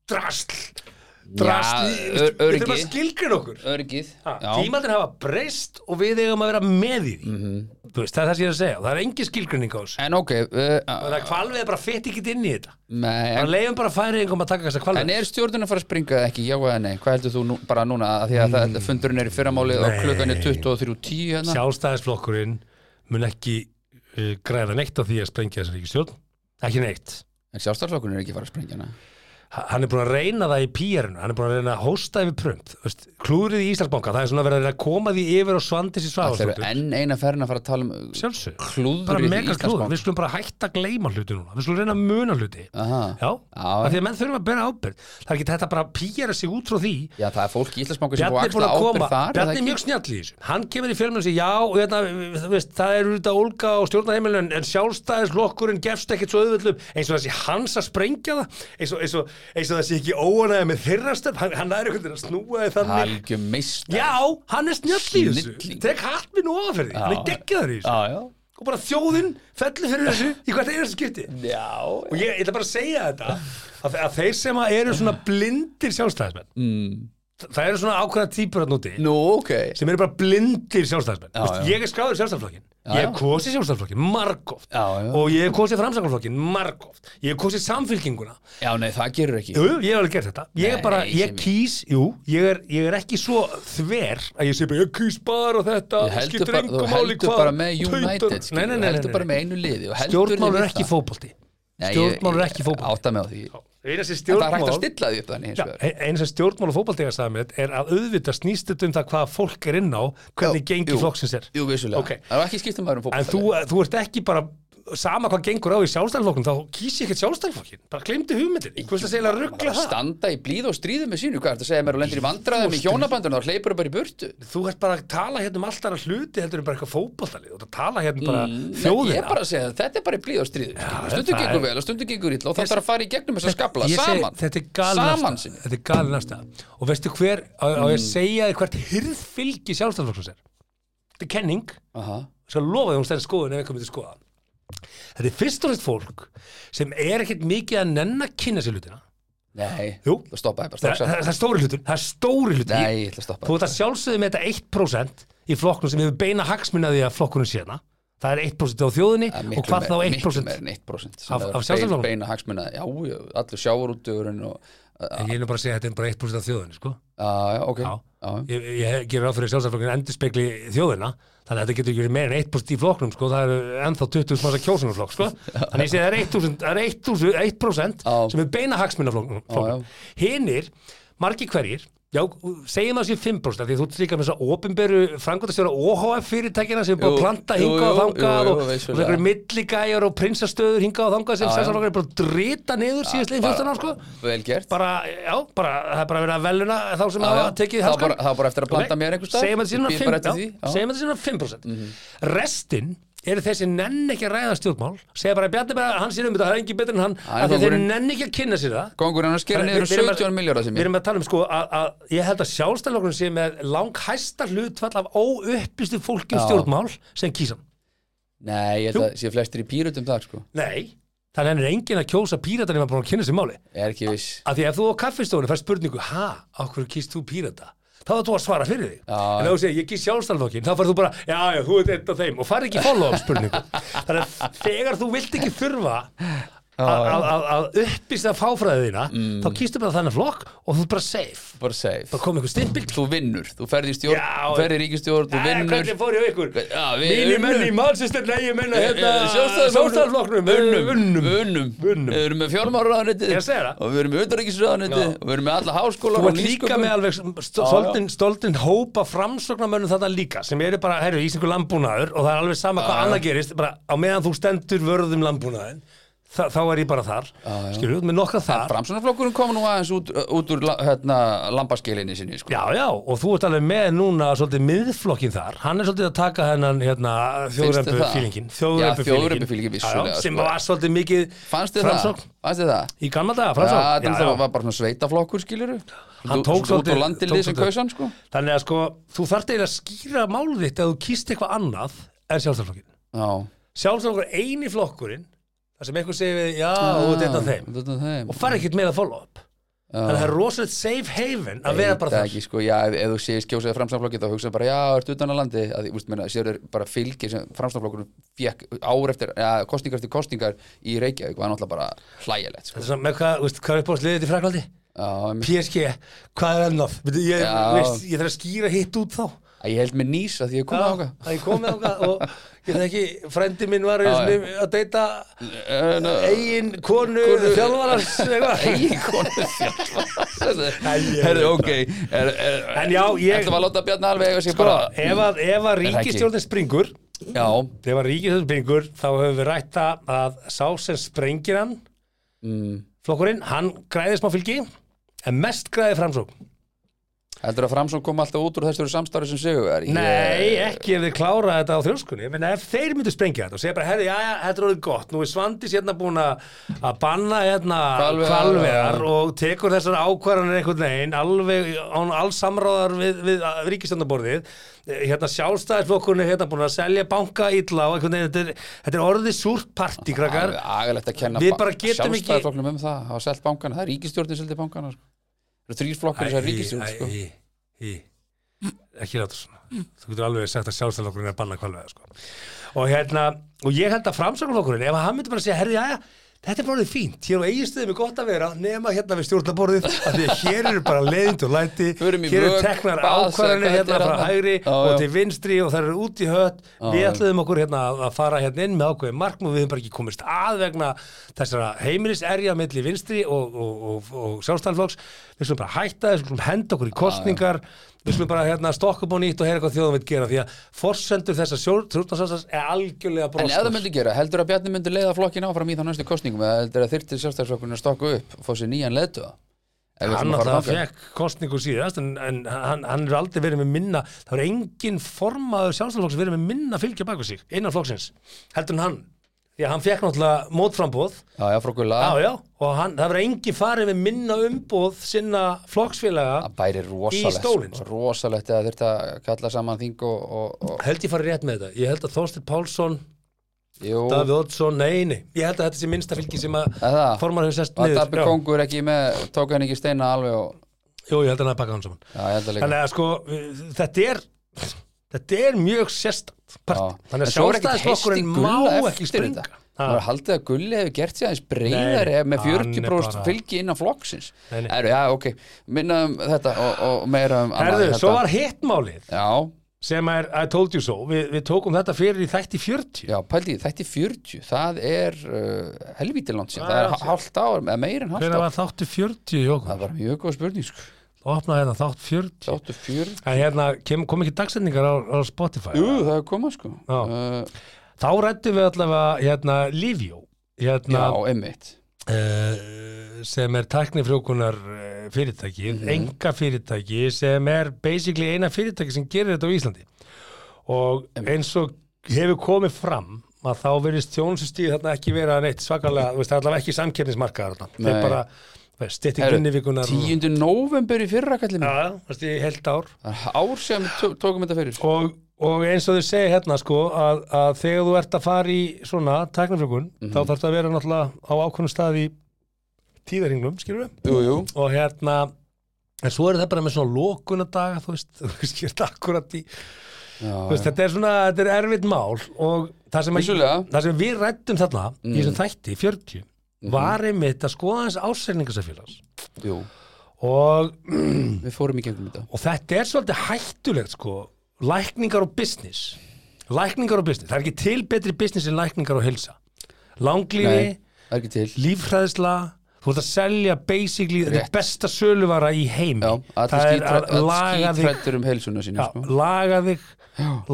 drasl drasl,
Já,
við-
ör-
við þurfum að
öryggi.
skilgrin okkur
örgið Já,
tímaldin hafa breyst og við eigum að vera með í því
Mhm.
þú veist, það er það sem ég er að segja það er engin skilgrinning á þessu
en ok uh,
það er hvalvið bara fett ekki inn í þetta
nei,
það
en,
leiðum bara færingum að taka þessa
en
hvalvið
er stjórnin að fara að springa eða ekki, já eða nei Hvað heldur þú nú, bara núna, að því að mm. fundurinn er í fyrramáli og
Nei.
klukkan er 23.10 hérna
sjálfstæðisflokkurinn mun ekki uh, græða neitt á því að sprengja þessari ríkistjórn ekki neitt
En sjálfstæðarflokkurinn er ekki að fara að springa hérna? hana
Ha- hann er búin að reyna það í pýjarinu hann er búin að reyna að hósta yfir prömp þú veist, klúrið í Íslandsbanka, það er svona verið að reyna að koma því yfir og svandi sér
Það eru
svafarsóttur
enn eina ferðin að fara að tala um uh,
sjálfsög,
klúður
bara
í
mega klúður
Íslandsbank
við skulum bara hætta að gleyma hluti núna við skulum reyna að muna hluti já, af því að menn þurfum að bera ábyrgð það er ekki þetta bara að pýjara sig út frá því
Já, það er fólk í Íslandsbanku sem
Bjarni
búið
er búin
að
að
ábyrð
koma,
þar er það
Bjarni er
ekki?
mjög snjall í þessu hann kemur í fjölmjörn og segir já og hérna, þú veist, það eru þetta ólga og stjórnarheimilin en, en sjálfstæðislokkurinn gefst ekkit svo auðvöldum eins og þessi hans að sprengja það eins og, eins og, eins og þessi ekki óanæði með þeirra stöð hann, hann er einhvern veginn að snúa þið þannig
Algjör mist
já, hann er snjall í þessu
Snilling.
tek hatt minn og ofan fyrir því, hann er geggjaður í þessu
Já, já
og bara þjóðinn fellur fyrir þessu í hvert einasta skipti
Mm. Já,
og ég, ég ætla bara að segja þetta að, að þeir sem að eru svona blindir sjálfstæðismenn mm. það eru svona ákveða típur að núti
Nú, ok
sem eru bara blindir sjálfstæðismenn
Já,
Þú veist,
já.
ég er skráður sjálfstæðisflokkin ég hef
já.
kosið sjálfstæðisflokkin margóft
Já, já.
og ég hef kosið framsæknarflokkin margóft ég hef kosið samfylkinguna
Já, nei, það gerur ekki
jú, jú, ég hef alveg gert þetta ég er
Nei,
bara,
nei,
ég
Simmi.
kýs, jú ég er, ég er ekki svo þver að ég sé bara, ég kýs bara og þetta
Þú heldur,
skiptir
bara,
engu
þú
máli
heldur
hvað,
bara með
tautar.
United
nei, nei,
skilur, þú
nei,
heldur
nei,
bara
nei.
með einu liði og heldur
stjórnmál
þig
er
við
ekki
það.
fótbolti
Nei, ég-
stjórnmál er
ég-
ekki fótbolti
Átta með á því
eina sem
Það er hægt að
stjórnmál
stilla því upp þannig hins
Já, e-
vegar
ein- eins og stjórnmál og fótboltega samið er að auðvitað snýst þetta um það hvað fólk er inn á hvernig
Já,
gengi
jú.
flokksins er
Jú, vissulega
Ok.
Það er ekki skipt um aðurum
En þú,
fótbolta
þú ert ekki bara sama hvað gengur á í sjálfstæðanflokknum þá kýsi ekkert sjálfstæðanflokkin, bara glemdi hugmyndin hvað er það segja að ruggla
Bara
það?
standa í blíð og stríðu með sínu Hvað er þetta að segja mér og lendir í vandræðum í hjónabandunum og hleypur bara í burtu
Þú ert bara að tala hérna um allt annað hluti heldur en bara eitthvað fótbollalið, þú ert að tala hérna bara
Mm, Nei, Ég er
þjóðina
bara að segja það, þetta er bara í blíð og stríðu skilur.
það
Stundum
er-
gengur vel og stundum gengur illa og það þarf að fara í gegnum þess að skabla
Ég segi,
saman
þetta er galin
Saman
afstæða
sinni Mm.
Þetta er galin afstæða Og veistu hver, á, á ég að segja þér hvert hirðfylgi sjálfstæðanflokksins er Þetta er kenning
Aha.
skal lofa því að hún stæði skoðun ef einhver myndi skoða þetta er fyrst og fremst fólk sem er ekkert mikið að nenn að kynna sér hlutina
Nei,
Jú.
það stoppaði bara
það,
strax
það, það er stóri hlutin, það er stóri hlutin
Nei, ég ætla að stoppa
þú ert að sjálfsögðu með þetta 1% í flokknum sem hefur beina hagsmunna því að flokkunum séna það er 1% á þjóðinni
Það er
og
miklu
hvað þá
meir-
1%
miklu meir en 1% sem
Af-
er
af sjálfstæðisflokknum?
bein- beina hagsmuna, já, já, allur sjávarútugurinn og, að-
en ég er nú bara að segja að þetta er bara 1% af þjóðinni sko.
að- já, ok
Já.
já,
ég, ég gerur áfyrir sjálfstæðflokkin endurspegli þjóðina þannig að þetta getur ekki verið meira en 1% í flokknum sko. það eru ennþá 20 smasa kjósunarflokk sko. þannig ég segi það er 1%, það er 1%, 1%
Já.
sem er beina hagsmunaflokkum
Já, já.
hinnir, margi hverjir Já, segjum það sér 5% af því þú ert líka með þess að opinberu frangotastjóra OHF fyrirtækina sem er búið
Jú,
að planta
jú,
hingað og
jú,
þangað
jú, jú,
og
vissulega.
einhverju milligæjar og prinsastöður hingað og þangað sem
Já, já.
sérstaklega er bara að drita niður síðastlegin 14 ár sko
Vel gert
bara, já, bara, það er bara verið að veluna þá sem
Já,
hafa
já.
tekið
Það
hanskan
bara- það bara eftir að planta mér einhvers staðar.
Segjum að
Ég bíð bara eftir því, já. Mhm.
þetta síðan 5% Restin eru þeir sem nenn ekki að ræða stjórnmál segja bara að Bjarni bara, hann sér um þetta, það er engin betur en hann
Hann er
af því að þeir
kóngurinn.
nenn ekki að kynna sér það
Kongurinn hann skera
Þannig við-
niður um
við erum að-
17 miljardar sem
Við
ég
erum að tala um sko að, að ég held að sjálfstæðlokknum sé með langhæsta hlutfall af óupplýstu fólki um
Já.
stjórnmál sem kýsam.
Nei, ég held að sé flestir í pýrutum þar sko
Nei, þannig er enginn að kjósa pírata nema bara að kynna sér máli.
Ég er ekki viss
Af því ef þú á kaffestofunni fær spurningu, ha, á hverju kýst þú pírata? Þá er þú að svara fyrir þig.
Já.
En ef þú segir, ég kýst sjálfstæðlokkin, þá farið þú bara, já, já, þú ert einn af þeim og farið ekki í follow-up spurningu. þannig að þegar þú vilt ekki þurfa að- að að- að upplýsta fáfræðina, mm. þá kýstu bara þannig flokk og þú ert bara safe.
Bara safe
Bara kom einhver stimpil,
Þú vinnur, þú ferði í stjórn,
Já,
þú ferði í ríkistjórn, þú
Jæja,
vinnur
hvernig fór ég á ykkur?
Já, við
Mínir menn í
unnum.
Manchester, nei, ég menna hérna
Sjálfstæðisflokknum
Sjálfstæðarflokknum,
Unnum
unnum
Unnum
Unnum.
Við erum með fjármálaráðanetið
Ég segi það.
Og við erum með utanríkisráðanetið
Já.
Og við erum með alla háskóla
Þú ert líka með alveg
Já, já.
stoltinn hópa framsóknarmönnum þarna líka sem eru bara, herru, íslengur landbúnaður og það er alveg sama hvað annað gerist bara á meðan þú stendur vörðum landbúnaðin þá, þá er ég bara þar skilur, með nokkra þar
Framsunarflokkurinn kom nú aðeins út, út úr la- hérna, lambaskilinni sinni sko.
Já, já, og þú ert alveg með núna svolítið miðflokkin þar, hann er svolítið að taka hennan hérna,
þér það?
þjóðrempufílingin
Já, þjóðrempufílinginn, vissulega,
sem
sko.
var svolítið mikið
Fannst þið það?
framsókn
Fannst þið það?
Í gamla daga,
Já,
framsókn
þannig að það var bara svona sveitaflokkur skiluru
Hann tók
út
svolítið-
á
tók
landilið sem
svolítið-
kausan sko
Þannig að sko, þú þarft eiginlega að skýra málið þitt að þú kýst eitthvað annað en sjálfstæðarflokkin
Já
Sjálfstæðarflokkur er eini flokkurinn þar sem einhver segir við, já, þú ert einn af þeim
Þetta er þeim
og fara ekkert með að follow up Þannig að það er rosalegt safe haven að vera bara
Veit
þar
ekki, sko, já, ef, ef þú séð skjósaði framstæðanflokki þá hugsaði bara, já, ertu utan að landi að því, úst, meina, sér er bara fylgi sem framstæðanflokkur fekk ár eftir, ja, kostningar eftir kostningar í Reykjavík, var náttúrulega bara hlægilegt,
Þetta
sko
er svona, með hvað, veist, hvað er uppáðsliðið þitt í Fraklandi?
já, em-
PSG, hvað er ennað? Veitu, Ég,
Mm. Já.
veist, ég þarf að skýra hitt út þá
að ég held með nýs að því ég komið áka
Það ég komið ákað og ég það ekki, frendi minn var einu
Já, já.
sinni að deyta
en, uh,
eigin konu
Konu-
þjálfarans eitthvað.
eigin konu
ég
fjall
veit
herri, ok er, er,
En já, ég-
ætlum að láta Bjarni alveg eiga sig
Sko,
bara
ef að, ef að
það ekki?
ríkistjórnin springur
já,
ef að ríkistjórnin springur þá höfum við rætt það að sá sem sprengir hann flokkurinn, hann græði smá fylgi en mest græði framsókn
heldur að Framsson kom alltaf út úr þessu samstarfi sem segur er,
Nei, ekki ef þeir klára þetta á þrjóskunni menn ef þeir myndu sprengja þetta og segja bara herri, já, já, þetta er orðið gott, nú er Svandís hérna búin að að banna hérna
Hvalveiðar,
kvalvegar
já.
og tekur þessar ákvarðanir einhvern veginn, alveg án alls samráðar við, við ríkistöndaborðið hérna sjálfstæðisflokkurinn er hérna búin að selja banka illa og einhvern veginn, þetta er, þetta er orðið súrt partí, krakkar
agalegt að kenna
Við bara getum ekki-
sjálfstæðarflokknum um það, hafa selt bankana það er ríkistjórnin seldi bankana sko. það eru þrýr flokkar þessar ríkistjórn sko.
æ, æ, ekki láta svona þú getur alveg sagt að sjálfstæðlokkurinn er að banna kvalvega sko. og hérna og ég held að framsögnlokkurinn, ef hann myndi bara segja herri, jæja, þetta er bara orðið fínt hér á eiginstöðum er gott að vera, nema hérna við stjórnaborðið af því að hér eru bara leiðind og læti
Förum í
hér eru
vök,
teknar
bað,
ákvarðanir
hvað þetta
hérna
er
frá
annað.
hægri
Já,
og
já.
til vinstri og það eru út í hött við ætluðum okkur hérna að- að fara hérna inn með ákveðin markmú, við höfum bara ekki komist að vegna þessara heimiliserja milli vinstri og, og, og, og sjálfstæðanflokks við skulum bara hætta þessu, við skulum henda okkur í kostningar við skulum bara hérna stokka upp á nýtt og heyra hvað þjóðum veit gera því að forsendur þessar sjálfstæðanflokks er algjörlega
en ef það
brostnar
myndi gera, heldur að Bjarni myndi leiða flokkin áfram í þá næstu kostningum eða heldur að þyrtir sjálfstæðarflokkurinn að stokka upp og fá sér nýjan leðtuga
hann alltaf fekk kostningu síðast en, en hann, hann er aldrei verið með minna það er engin formaður sjálfstæðanflokks verið með minna fylgja baku sig innan flokksins heldur en hann, því að hann fekk náttúrulega mótframbóð
já, já, frá Gulla,
Já, já, og hann, það verður engin farið með minna umbóð sinna flokksfélaga
það bæri
Í stólinn,
rosalegt
sko.
sko. rosalegt eða þyrfti að kalla saman þing og, og, og
held ég farið rétt með þetta, ég held að Þórstir Pálsson
jú,
Davíð Oddsson, nei, nei ég held að þetta sé minnsta fylgi sem að
Er það?
formar hefur sest
var
niður
Darby
já,
Kongur ekki með, tók hann ekki steina alveg og,
jú, ég held að hann að pakka hann saman
já, ég held að líka
þannig að sko, þetta er þetta er mjög sérstætt part,
Já.
þannig
En
að
svo er ekkert
sjálfstæðisflokkurinn
heisti Gulla
má
eftir
ekki
þetta.
springa
Það var haldið að Gulli hefur gert sér aðeins breyðari
Nei, nei,
með
hann er
40 bróst
bara-
fylgi innan flokksins
Nei, nei.
Heru, Já, ok, minna um þetta og, og meira um annað
Herðu,
hérna.
svo var hittmálið
Já,
sem er I told you so, við, við tókum þetta fyrir í þætti 40
já, pældi, þetta er 40 það er uh, helvítilansin
Já,
það er
já,
hálft ár, eða meira en hálft
hvernig
ár
var þáttu 40 í okkur?
Það var mjög góð spurning sko.
opna hérna þátt 40
þáttu fjör
en hérna kem, kom ekki dagsendingar á, á Spotify
Jú, það er komað sko
Já.
uh,
þá rættum við allavega hérna Livjó hérna,
Já, emmitt
uh, sem er tæknifrjókunar eh, fyrirtæki, enga fyrirtæki sem er basically eina fyrirtæki sem gerir þetta á Íslandi og eins og hefur komið fram að þá verðist þjónustustíð þarna ekki vera neitt svakalega, þú veist, það er allavega ekki samkeppnismarkaðar þarna, þeir
Nei.
bara stýtti grunnivíkunar
10. november í fyrra kallið mér
Já, þú veist, í heilt ár
Ár sem við tó- tókum þetta fyrir sko.
og, og eins og þau segja hérna sko að, að þegar þú ert að fara í svona tæknafrjókun, þá þarf það að vera náttúrulega á ákvörnum stað í tíðaringnum, skilur við,
Jú, jú
og hérna en svo er það bara með svona lokunadaga þú veist, þú veist, ég er þetta akkurat í þú veist, þetta er svona, þetta er erfitt mál og það sem, að,
Vissulega. Mm. Mhm.
það sem við rættum þarna í þessum þætti, 40 var einmitt að skoða hans ásælningasafélags
Jú,
og
við fórum í gegnum þetta
og þetta er svolítið hættulegt sko, lækningar og business lækningar og business, það er ekki til betri business en lækningar og hilsa langlífi,
Nei, það er ekki til
lífhræðsla þú ert að selja basically þetta
Rétt.
er besta söluvara í heimi
Já,
það er að laga
allir
þig
skítrættur um heilsuna sína
já,
sko.
laga þig,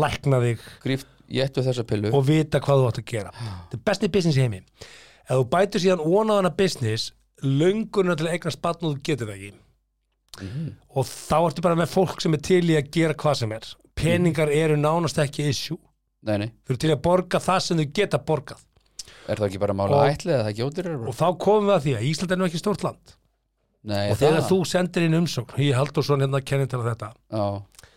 lækna þig
Gríft, ég ættu þessa pillu
og vita hvað þú átt að gera þetta er besti business í heimi ef þú bætur síðan onaðana business löngunar til að eignast barn og þú getur það ekki
Mhm.
og þá ertu bara með fólk sem er til í að gera hvað sem er peningar eru nánast ekki issue
Nei, nei,
þau eru til að borga það sem þau geta borgað
er það ekki bara mála
Og-
ætli eða það ekki ódýrar
og þá komum við að því að Ísland er nú ekki stórt land
Nei,
og þegar þú sendir inn umsókn ég haldur svona hérna kennindar að þetta
Já,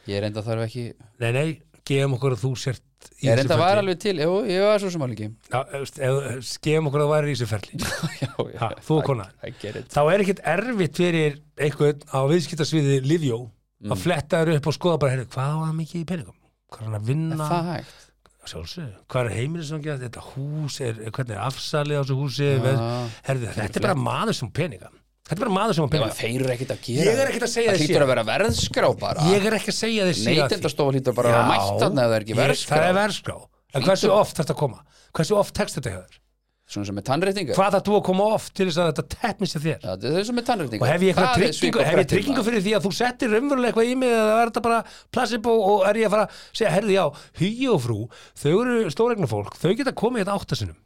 ég er enda þarf ekki
nei nei, gefum okkur að þú sért í
Ég er
þessu
enda var
ferli.
alveg til, jú, ég var svo sem alveg ekki
Já, þú veist, ef- gefum okkur að það væri í þessu ferli
Já, já,
ha, þú og konan
I get it
þá er ekkert erfitt fyrir einhvern á viðskiptasviði Livjó
Mm.
að fletta þér upp og skoða bara heyrðu, hvað var mikið í peningum? Hvað er hann að
Er
vinna?
Það hægt
Sjálfsög, hvað er heimilisvangja? Þetta hús, er, hvernig er afsalið á þessu húsi? Ja.
Já.
Herðu, þetta er bara maður sem á peninga. Þetta er bara maður sem á peninga.
Þeir eru ekkert að gera
Ég er ekkert að segja
Það
þér
hlýtur
síðan.
að vera verðskrá bara
Ég er ekki að segja þér síðan.
Neytendastofa hlýtur bara að vera mætt þarna ef það er ekki verðskrá
Það er verðskrá. En hversu oft þarf þetta að koma? Hversu oft tekst þetta hjá þér?
Svona sem með tannréttinga
Hvað þarf þú að koma oft til þess að þetta teknist hjá þér?
Já, Það er svona með tannréttinga
og hef ég eitthvað
Það er
tryggingu,
svik og
hef ég
brettir,
tryggingu
maður.
fyrir því að þú settir raunverulega eitthvað í mig eða er þetta bara placebo og er ég að fara að segja, herði já, hugi og frú þau eru stóregna fólk, þau geta komið hérna áttasunum,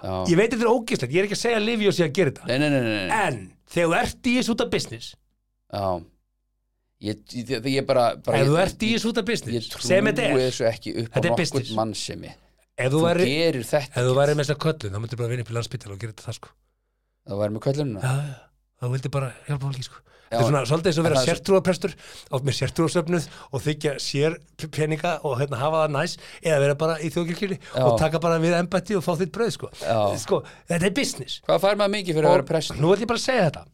Já.
ég veit þetta er ógislegt ég er ekki að segja að lifi og sé að gera þetta
Nei, nei, nei, nei, nei.
en þegar þú ert í þessu út af business
Já Ég, ég, ég- ég bara, bara
ef
ég,
þú ert í
ég,
þessu út af
ég
business
trúi
sem þetta er,
þessu ekki upp á
Þetta er
nokkur
business.
mannsemi
ef
Þú
þú væri
gerir þetta
ef þú væri með þess að köllun, þá myndir bara vinna upp í landspítal og gera þetta það sko,
Það væri með köllununa
já, já, þá vildi bara hjálpa fólki sko
Já.
Þetta er svona svolítið eins og vera
En það er svo-
sértrúaprestur og með sértrúasöfnuð og þykja sér peninga og hérna hafa það næs eða vera bara í þjóðkirkjunni
Já.
og taka bara við embætti og fá þitt bröð sko.
Já.
sko þetta er business
Hvað fær maður mikið fyrir að vera prest
nú ætlum ég bara að segja þetta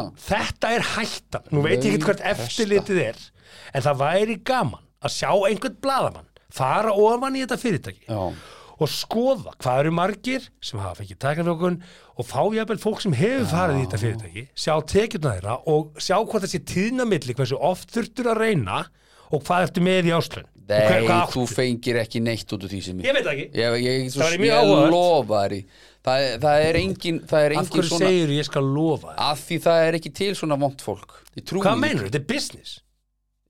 að þetta er hættan, nú veit ég ekki hvert
Laun
eftirlitið er en það væri gaman að sjá einhvern bladamann fara ofan í þetta fyrirtæki
Já,
og skoða hvað eru margir sem hafa fengið tæknafjókun og fá jafnvel fólk sem hefur farið í þetta fyrirtæki sjá tekjurna þeirra og sjá hvað þessi tíðna milli hversu oft þurftur að reyna og hvað ertu með í áslun
nei,
og hver, hvað
þú
áttu
fengir ekki neitt út úr því sem
ég veit það ekki
Ég, ég, svo,
Það væri mjög
ég
áhugavert.
lofa þér í það, er- það er engin, það er
af
engin
hverju
svona
segir ég skal lofa þér
Af því það er ekki til svona vond fólk Ég trúi
hvað
því.
meinur þetta er business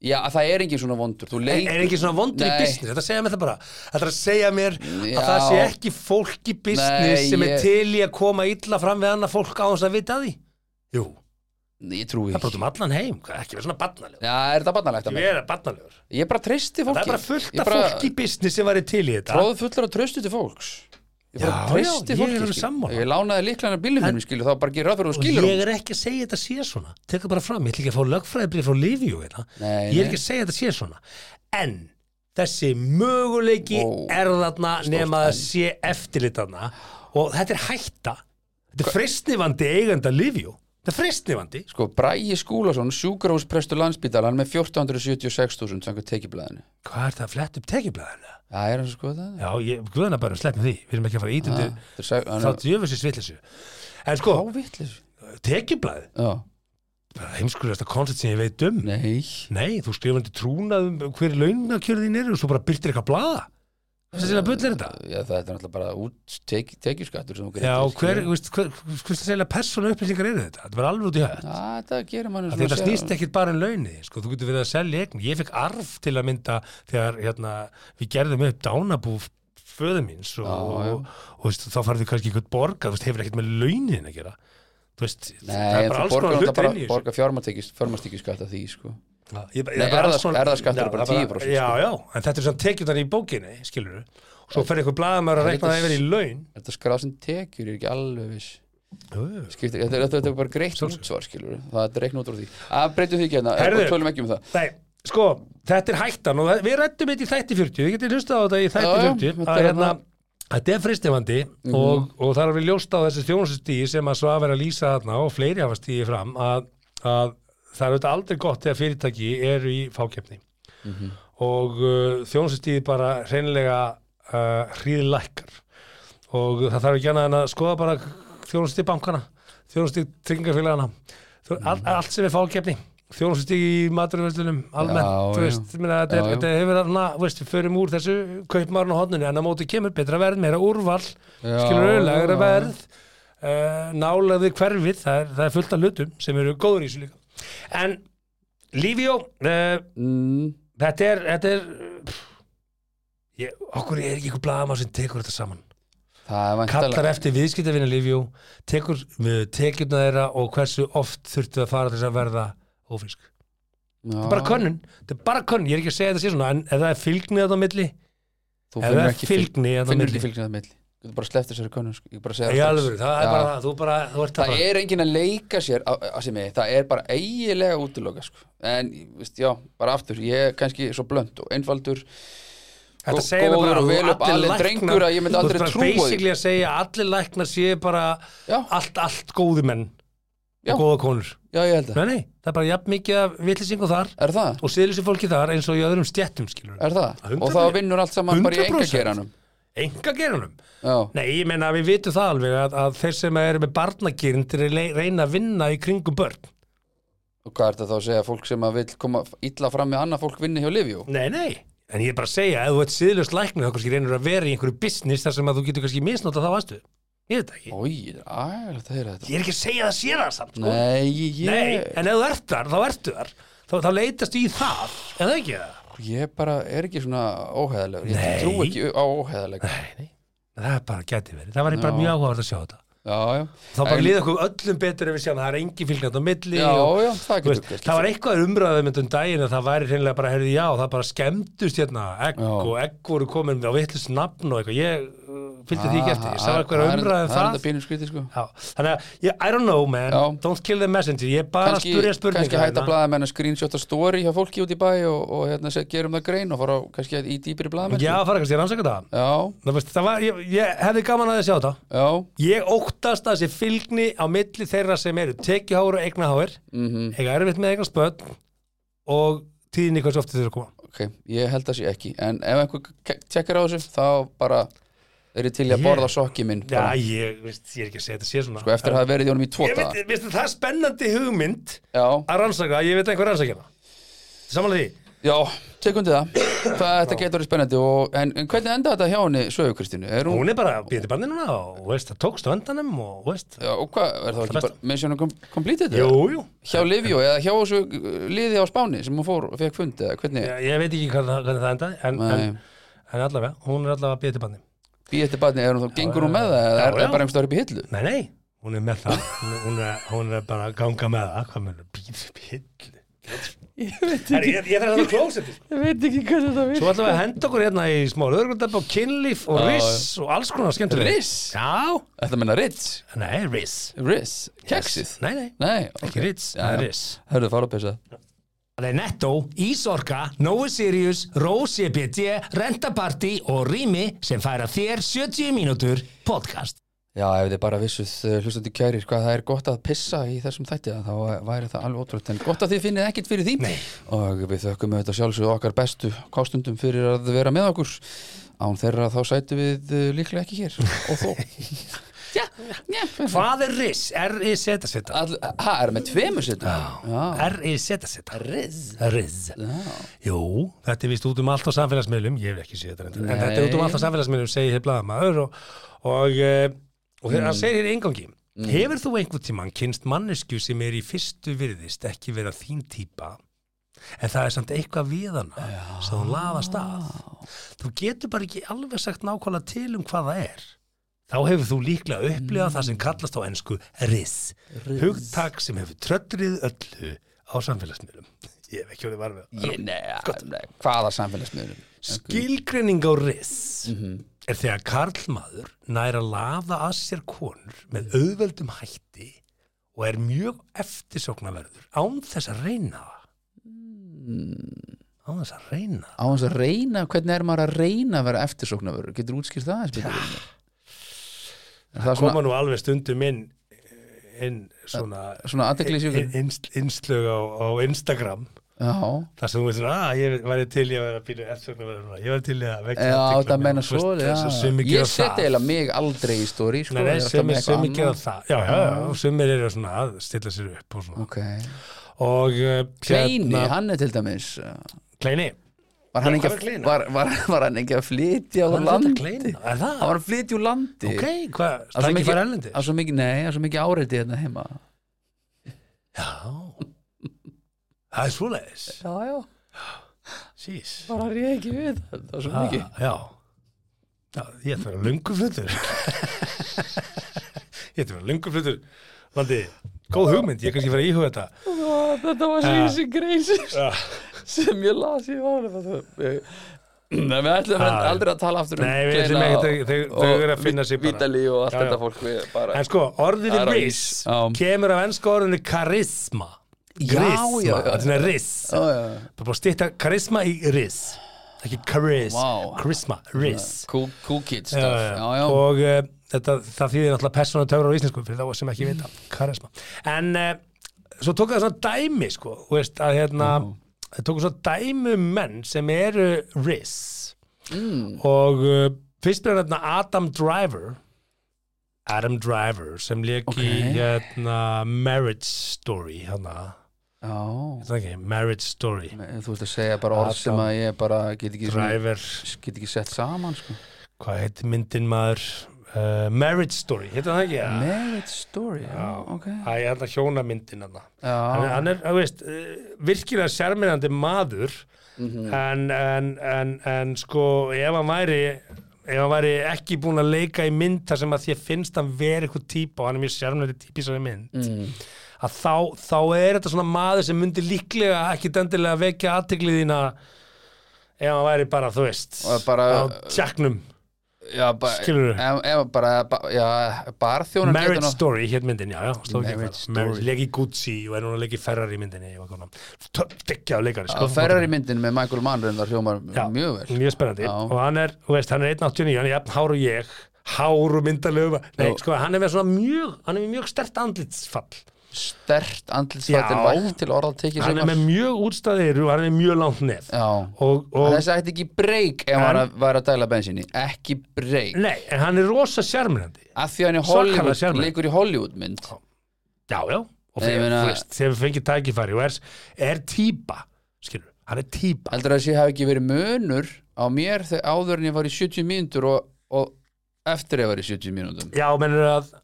Já, það er engin svona vondur Þú
er,
leikur
er ekki svona vondur í
Nei.
business þetta segja mér það bara þetta er að segja mér
Já.
að það sé ekki fólk í business
Nei,
sem
ég-
er til í að koma illa fram við annað fólk á hans að vita af því jú
Ég trúi
það
því
brotum um allan heim hvað- ekki verið svona barnalegur
Já, er þetta barnalegt að
ég er barnalegur
Ég bara treysti fólki
Það er bara fullt
Ég
af fólki í business sem væri til í þetta
Tróð fullur af traustu til fólks Ég bara
Já, já,
trausti
ég
fólki
er alveg
skilur.
sammála.
Ég lánaði líklega bílum minnum skilur Þá bara gerir ráð fyrir þú
og
skilur
ég er ekki að segja þetta sé svona tekur bara fram, ég ætla ekki að fá lögfræðibrið frá Liviu hérna.
Nei,
ég er
nei.
ekki að segja þetta sé svona en þessi möguleiki
Ó,
er þarna nema að sé eftirlit þarna og þetta er hætta þetta er freistnivandi eigenda Liviu þetta er freistnivandi
Sko, Bræi Skúlason, sjúkrahúsprestur landsbítalan með 1476.000 samkvæmt tekiblaðinu.
hvað er það að fletta upp tekjublaðinu?
Það er hans sko það.
Já, ég, guðna bara, sleppum því, við erum ekki að fara
Ah,
ítundir þá
Það
djöfusins villisu en sko,
er vitlis.
tekjublað
Já,
heimskulegasta koncept sem ég veit um
nei.
Nei, þú skrifandi trúnað um hver launakjörðin er og svo bara byrtir eitthvað blaða Þessi að bullir þetta?
Já, það er náttúrulega bara út tek, tekjuskattur sem þú
Já,
greiðir
hver,
til, skilur.
veist, hver, hvers að segja persónu upplýsingar eru þetta? Þetta var alveg út í höll.
Já, þetta gerir mann
Af því Þetta snýst ekkit bara en launi, sko, þú getur verið að selja eign. Ég fekk arf til að mynda þegar hérna, við gerðum upp dánabú föðu míns og,
Já, já.
og, og veist, þá farið þið kannski einhvern borga, þú veist, hefur ekkert með launin að gera. Þú veist, það
Nei,
er bara alls
borgar
konar
þetta
hlutur
bara
inn í þessu.
borga fjármastekjuskatt af því, sko
Já, ég- ég-
Nei,
bara alls
erfða-
konar-
erfðaskattur er
Já,
bara sko.
það
10%,
Já, já, en þetta er svona tekjutan í bókinni, skilur við. Og svo fer eitthvað blaðamæður að
Það
rekna það
heitir-
yfir í laun.
Þetta skráð sem tekjur er ekki alveg viss
Jú,
Skiptir, þetta, er- þetta, þetta er bara greitt
Sjálfsögðu.
útsvar, skilur Það er reikn út úr því Að breytum því ekki hérna,
Herðu.
og tölum ekki um það
Nei, sko, þetta er hættan og það- við rættum þetta í þætti 40, við getum hlustað á þetta í þætti
Já, já,
40 að
þetta er
hérna,
hérna- Mhm.
þetta er fristifandi og, og það er alveg ljóst á þessi þjónustustíi sem að svo að vera að lýsa þarna og fleiri hafa stíi fram að, að það er auðvitað aldrei gott þegar fyrirtæki eru í fákefni og uh, þjónustustíi bara hreinlega uh, hríðlækkar og það þarf ekki annað en að skoða bara þjónustíi bankana, þjónustíi tryggingafélagana, þjó,
Mm.
all, allt sem er fákefni þjónustíi í maturverslunum almennt,
Já,
þú
já.
veist minna, þetta, er,
Já, já.
þetta hefur þarna, þú veist, við förum úr þessu kaupmarinn á hodnunni, en að móti kemur betra verð, meira úrval, skilur auðlagra
já.
verð uh, nálaði hverfið, það er, það er fullt af hlutum sem eru góður í þessu líka en Lífjó uh,
mm,
þetta er, þetta er pff, ég, okkur er ekki eitthvað blaðamá sem tekur þetta saman
Það er
kallar
væntalega
eftir viðskiptavina Lífjó tekur með tekjurna þeirra og hversu oft þurftu að fara til þess að verða ófrísk
Já,
bara könnun, þetta er bara könnun, ég er ekki að segja þetta sé svona en ef það er fylgni þetta á milli
Þú
ef það
finnur
er
ekki fylg
fylgni þetta á
Finnur
milli
ekki fylg sem það milli Þú bara sleft þessari könnun sko. Ég bara segja
í
það strax.
alvöru, það er
Já.
bara það, þú bara þú ert það
Það
bara,
er enginn að leika sér á, á sem ég, það er bara eigilega útiloka sko. en, veist, já, bara aftur ég er kannski svo blönd og einfaldur
þetta
gó-
segir mér
góður
bara
og
að
vel upp alinn drengur að ég myndi
þú
aldrei
ert bara
trúa því.
basically að segja að allir læknar séu bara
Já.
allt, allt góði menn
Já.
og góða konur
já, ég held að,
nei, nei, það er bara jafn mikið af vitlisingu þar
er það?
og siðlisir fólki þar eins og í öðrum stjættum skilur
Er það?
100%.
Og það vinnur allt saman bara í
100%.
engageranum
enga gerunum
Já,
nei, ég meina að við vitum það alveg að, að þeir sem eru með barnagirn til að le- reyna að vinna í kringum börn
og hvað er þetta þá að segja fólk sem að vil koma illa fram með annað fólk vinni hjá Livjó?
Nei, nei, en ég er bara að segja ef þú ert siðlust læknir þá kannski reynir að vera í einhverju business þar sem að þú getur kannski misnota þá aðstöðu Ég veit það ekki,
Ói, ægilegt að heyra þetta
ég er ekki að segja það sé það samt sko.
Nei, ég,
nei, en ef þú ert þar, þá ertu þar þá, þá leitast í það, en það ekki það
ég bara er ekki svona óheðalegur Ég
Nei.
trú ekki á óheðaleg Já,
Nei, nei, það er bara geti verið Það var ég bara
Já.
mjög áhugavert að sjá þetta
já
Þá bara
En-
líða okkur öllum betur ef við sjáum að það er engin fylgjandi á milli
Já,
og,
já, það
þú
getur
veist,
gerst.
Það var eitthvað umræðum um daginn að það væri hreinlega bara, heyrði, já, það bara skemmtust hérna, egg
Já.
og egg voru komin á vittlust nafn og eitthvað, ég uh, fylgdi því ekki eftir, ég sá
Ah,
eitthvað umræðum
Það er þetta
um það
pínum skrítið sko
Já, þannig að, ég, I don't know man,
Já.
don't kill the messenger, ég er bara
kannski,
að spurja spurninga
kannski hætta
hérna.
blaðamenn að screenshota story hjá fólki út í bæ og, og hérna, set, gerum það grein og fara á- kannski í dýpiri blaðamenn
Já, fara kannski að rannsaka það
já,
Það, veist, það var, ég, ég hefði gaman að því að sjá þetta
já,
Ég óttast að þessi fylgni á milli þeirra sem eru tekjuháur og eignaháir
mhm,
eiga erfitt með eignast börn og tíðinni hversu ofta þeir eru að koma
ok ég held að sé ekki, en ef einhver ke- tekkar á þessu, þá bara er ég til í að
Ég-
borða sokki minn
Já,
bara,
ég, veist, ég er ekki að segja þetta sé svona
sko, eftir að hafa verið í honum í tvo
Ég
daga
veit, veist, það er spennandi hugmynd
já,
að rannsaka, ég veit einhver um rannsakina Samanlega því,
já, tekundi það það, þetta getur verið spennandi og, en, en hvernig enda þetta hjá henni Sögu Kristínu? Er hún,
hún er bara að býða til bandið núna og veist, það tókst á endanum og veist
já, og hvað, er það ekki
besta.
bara mention kom, completed?
Jú,
eða?
jú,
Hjá Livjó, eða hjá þessu uh, liði á Spáni sem hún fór og fekk fund, eða hvernig,
ég, ég veit ekki hvað, það- hvernig það endaði en,
Nei.
en, en allavega, hún er allavega að býða til bandið
býð eftir barni, er hún þá, gengur hún með það eða er
Já, já.
það bara einhvers stöður upp í hillu?
Nei, nei, hún er með það hún, er- hún, er, hún er bara að ganga með það Hvað með býða til pillu Herri, Ég veit ekki Ég þarf að það klósið
Ég veit ekki hvað þetta vil
Svo ætlum við að henda okkur hérna í smá öðrugundabba og kynlíf og
Já,
riss og alls konar skemmtur
Riss?
Já,
Þetta menna Ritz
nei, riss
Ritz, keksið
Nei, nei,
Nei,
ekki riss, það er riss
Hörðu, fara að pissa
Það er Netto, Ísorka, Nói Sirius, Rósi
E
BT, Rentaparty og Rými sem færa þér 70 mínútur podcast.
Já, ef þið bara vissuð
eh,
uh, hlustandi kærir hvað það er gott að pissa í þessum þætti þá væri það alveg ótrútt en gott að þið finnið ekkert fyrir því Nei. og við þökkum auðvitað sjálfsögðu okkar bestu kostundum fyrir
eh,
að vera með okkur án þeirra þá sætu við uh, líklega ekki hér og þó
Já, já.
Hvað er RIS? R-I-Z seta
All- Ha, er með tveimur sittum? Já.
R-I-Z seta
Riz.
RIS Jú, þetta er vist út um allt á samfélagsmiðlum Ég hef ekki séð þetta reyndar En
Nei.
þetta er út um allt á samfélagsmiðlum, segir hér blaðamaður og, og, eh, og mm. hann segir hér í inngangi Hefur þú einhvern tímann kynst mannesku sem er í fyrstu virðist ekki vera þín típa en það er samt eitthvað við hana sem hún laðast að þú getur bara ekki alveg sagt nákvæmlega til um hvað það er þá hefur þú líklega upplifað það sem kallast á ensku riz, hugtak sem hefur tröttrið öllu á samfélagsmiðlum ég hef ekki verið varfið
Ég, nei, ah, nei, hvaða samfélagsmiðlum?
Skilgreining á riss
Mhm.
er þegar karlmaður nær að laða að sér konur með auðveldum hætti og er mjög eftirsóknarverður án þess að reyna það.
Mm.
Án þess að reyna það.
Á hans að reyna, hvernig er maður að reyna að vera eftirsóknarverður? Getur útskýrt það? eins betur? Er það
Koma
svona,
nú alveg stundum inn, inn svona
svona aðdeklisjúkur?
inn- inn- innslög á, á Instagram
Já,
þar sem þú veist svona, að ég væri til í að vera pínu eftirsóknarverður, ég væri til í að vekja
já
athygli
það
mína."
menna
Þú veist,
svo já.
þess að sumir gera
Ég
það.
seti eiginlega mig aldrei í stóri sko,
Nei,
ég
nei,
er alltaf
sumir,
með eitthvað
sumir gera
annað.
það Já, já, já, og sumir eru svona að stilla sér upp og svona
Ok.
Og uh,
Kleini,
hérna-
hann er til dæmis uh,
Kleini
Var hann,
Já,
ekki,
hvað er Kleina?
að- var, var, var hann ekki að flytja úr
Hann er
landi?
þetta Kleini, er það?
Hann var að flytja úr landi
Ok, hvað,
Það er svo
það ekki
mikið-
fara erlendi?
Það er svo mikið, nei, það er svo mikið áreiti hérna heima
Já Það er svoleiðis
Já, já,
Sís Ah,
bara er ég ekki við Ah. Það er svo mikið
Já Já, ég ætti að vera lunguflutur Ég ætti að vera lunguflutur Landi, góð hugmynd, ég er kannski að fara að íhuga þetta
Ó, Þetta var svo þessi grein sem-
Já.
sem ég las í varum Nei, við ætlum
Já.
aldrei að tala aftur um
Ah. Nei, við ætlum
Kleina
ekki,
og-
þau, þau, þau eru að finna sig bara
Vítali og allt
Já, já.
þetta fólk við bara
En sko, orðið
Það er á
ris
ís. Já.
kemur af ennska orðinu karisma Karisma,
já, já.
þetta er svona ris
Já, já, já.
Það er búið að stýta karisma í ris Ekki karis,
Vá.
karisma, ris
Cool, cool kid stuff
Já,
já, já.
Og uh, þetta, það þýðir náttúrulega persónu töfra á íslensku fyrir þá sem ekki vita, karisma En uh, svo tók það svona dæmi sko, þú veist, að hérna það tók svona dæmi um menn sem eru ris
Mm.
og uh, fyrst byrjar hérna Adam Driver Adam Driver sem lék í
Ok.
hérna Marriage Story hérna,
já.
þetta ekki, Marriage Story
Me- Þú ert að segja bara orð
Adam
sem að ég bara get ekki,
Driver,
get ekki sett saman sko.
hvað heitir myndin maður uh, Marriage Story, heitir það ekki? Ja.
Marriage story, já, ok
Æ, hérna hjónamyndin hérna hann,
Já,
hann er, þú veist, eh, virkilega sérmennandi maður
Mhm.
en, en, en, en sko ef hann væri ef hann væri ekki búin að leika í mynd þar sem að því finnst hann verið eitthvað típa og hann er mjög sérmennandi típi sem er mynd
Mhm.
að þá, þá er þetta svona maður sem myndi líklega ekki dendilega vekja aðteglið þína ef hann væri bara, þú veist
Og bara-
á tjakknum,
já ba,
skilurðu?
ef, ef bara, ba, já, barþjónar
Marriage Story, hér myndin, já, já, sló ekki
Marriage
það. Marriage,
Story.
legi Gucci og er núna legi Ferrari í myndinni og konar, tökkjað leikari, sko.
Story Ferrari myndin með Michael Mann reyndar hljómar
Já,
mjög vel
Mjög spennandi,
Já.
og hann er, þú veist, hann er 1.89, hann er jafn hár og ég, hár og myndalegu, nei,
Já.
sko, hann er með svona mjög, hann er með mjög stert andlitsfall.
Stert
Já.
andlitsfættin vægt til orða tekið
Hann er með mjög útstæðir og hann er mjög langt nef.
Já,
Og, og,
þessi ætti ekki breyk ef hann var að dæla bensinni Ekki breyk
nei, en hann er rosa sjarmirandi.
Af því hann er
Svakalega
Hollywood,
sjarmerandi.
leikur í Hollywood mynd
Já, já, og
Nei, ég
fyrir,
meina-
þú veist, þegar við fengið tækifæri og er, er típa, skilur, hann er típa.
heldur að þessi hafi ekki verið munur á mér þegar áður en ég var í 70 mínútur og, og eftir ég var í 70 mínútum
Já, mennur að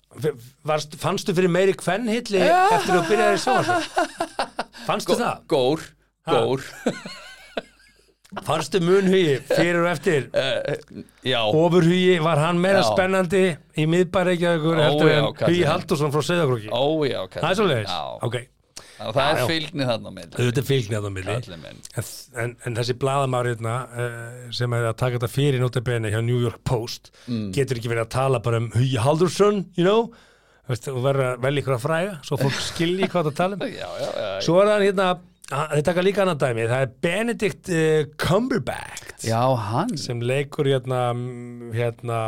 varst, fannstu fyrir meiri kvennhilli eftir að byrja þér sjónvarp Fannstu það?
gór, gór
Fannstu munhugi fyrir og eftir
já,
Ofurhugi, var hann meira
Já.
spennandi í miðbæreikjagur
Ó,
heldur
já,
en
kallinn.
Hugi Halldórsson frá Seyðakróki
ó já Katrín.
Það er svoleiðis?
já,
Ok,
Þannig að það
Já, já.
er fylgni þarna með
auðvitað er fylgni að það milli
allir menn
en, en, en þessi blaðamárið uh, sem er að taka þetta fyrir notabene hjá New York Post
Mm.
getur ekki verið að tala bara um Hugi Halldórsson you know, Veist, og verða vel ykkur að fræga svo fólk skilji hvað það tala um
já, já, já, já.
Svo er hann hérna, hann- þeir taka líka annan dæmi, það er Benedict uh, Cumberbatch
já, hann
sem leikur hérna, mm, hérna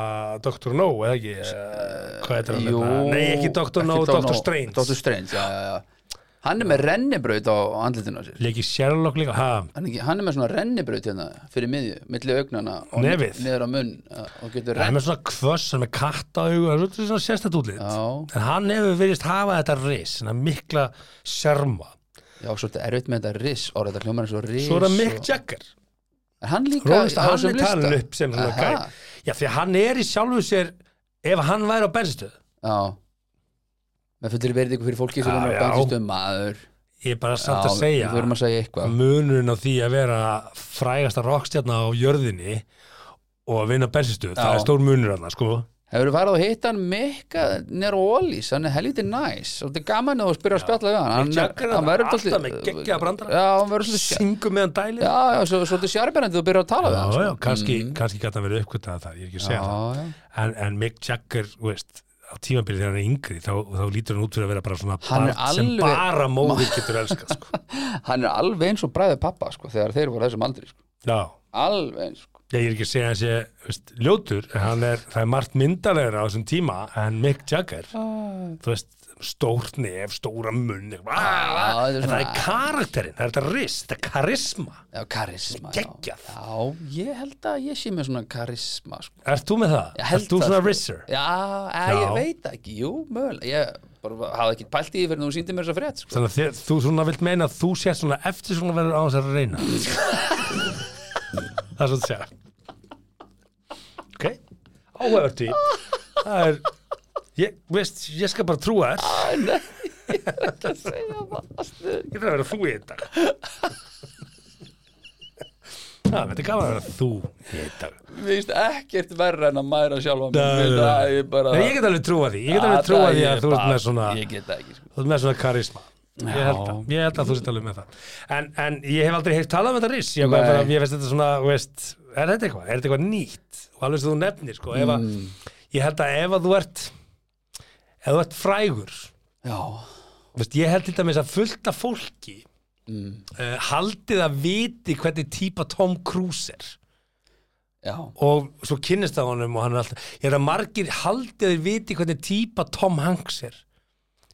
Dr. No, eða ekki? Uh, hvað heitir hann?
Jú,
hérna? Nei, ekki Dr. No, Dr. Strange.
Dr. Strange, já, já, já Hann er með rennibraut á andlitinu á sér
Leiki Sherlock líka ha,
hann er, ekki, hann er með svona rennibraut hérna fyrir miðju, milli augnana og
Nefið.
niður á munn uh, og getur
Hann er
renn
með svona kvöss, hann er með katta augu Það er svolítið svona sérstætt útlit
Já.
En hann hefur veriðst hafa þetta ris Svona mikla sjarma
Já, svolítið erfitt með þetta ris orð, þetta hljómar eins og ris
Svo er það
og-
Mick Jagger
Er hann líka
Róðist
á
að hann
þessum
er talin
lista?
upp sem svona
Aha.
gæ Já, því að hann er í sjálfu sér Ef hann væri á bensinstöð
Já Með fullir verðingu fyrir fólki sem
Já,
hann er
já.
bænstum maður
Ég er bara samt
Já,
að segja
Við þurfum að segja eitthvað
munurinn á því að vera frægasta rockstjarna á jörðinni og að vinna bensinstöð, það
Já.
er stór munur hann sko.
Hefur þú farið að hitta hann Mikka Nero Ollís, hann er helviti næs og þetta er gaman að þú spyrja að spjalla við hann hann,
Jagger er
hann verður
alltaf
dálítið-
með geggjaða brandara.
Já, hann verður svolítið sjá-
syngu meðan dælir
Já, já, svo, svolítið sjárberandi þú byrjar að tala við
Já,
hann sko. Mm,
já, kannski, kannski gæti hann verið uppkvitað það, ég er ekki að segja
Mhm. já, já.
það en, en Mick Jagger, þú veist á tímabilið þegar hann er yngri, þá, þá lítur hann út fyrir að vera bara svona
Hann er
barn sem
alveg-
bara móðir getur elskað sko.
Hann er alveg eins og bræðið pappa sko, þegar þeir voru á þessum aldri sko.
Já,
Alveg eins sko.
ég er ekki að segja þessi veist, ljótur, en hann er, það er margt myndalegra á þessum tíma en Mick Jagger þú veist, stórt nef, stóra munn eitthvað,
Já,
ah,
þetta er
en það er
svona-
karakterinn, það er þetta rist, þetta er karisma
Já, karisma já.
Geggjað.
já, ég held að ég sé með svona karisma sko.
Ert þú með það?
Ég held
Ert þú
það,
svona
sko.
risser?
Já, að,
Já.
ég veit það ekki, jú, mögulega Ég bara hafði ekki pælt í því fyrir nú síndi mér þess að frétt sko.
Þannig að þér- þú svona vilt meina að þú sést svona eftir svona verður á þess að reyna Það er svona að segja Ok Áhæfur tí Það er Ég, veist, ég skal bara trúa þér
segja það
Ég þarf að vera þú í þetta Já, Ah, þetta er gaman að vera þú í þetta
Mér finnst ekkert verra en að mæra sjálfa mig.
Nei,
Mér finnst
nei,
að ég bara
Nei, ég get alveg trúa því Ég get
Að
alveg trúa
Ah, það
því
ég
að þú ert
bara-
með svona
Ég get það ekki sko.
Þú ert með svona karisma Ég held, að, ég held að þú sért alveg með það en, en ég hef aldrei heyrt talað um þetta ris Ég,
Nei.
bara, ég veist þetta svona, veist Er þetta eitthvað? Er þetta eitthvað nýtt? Og alveg sem þú nefnir, sko ef að,
Mm.
Ég held að ef að þú ert Ef þú ert frægur
Já,
veist, Ég held til dæmis að fullta fólki mm. uh, Haldið að viti hvernig típa Tom Cruise er
já,
og svo kynnist það honum og hann er alltaf ég er að margir haldið að þeir viti hvernig típa Tom Hanks er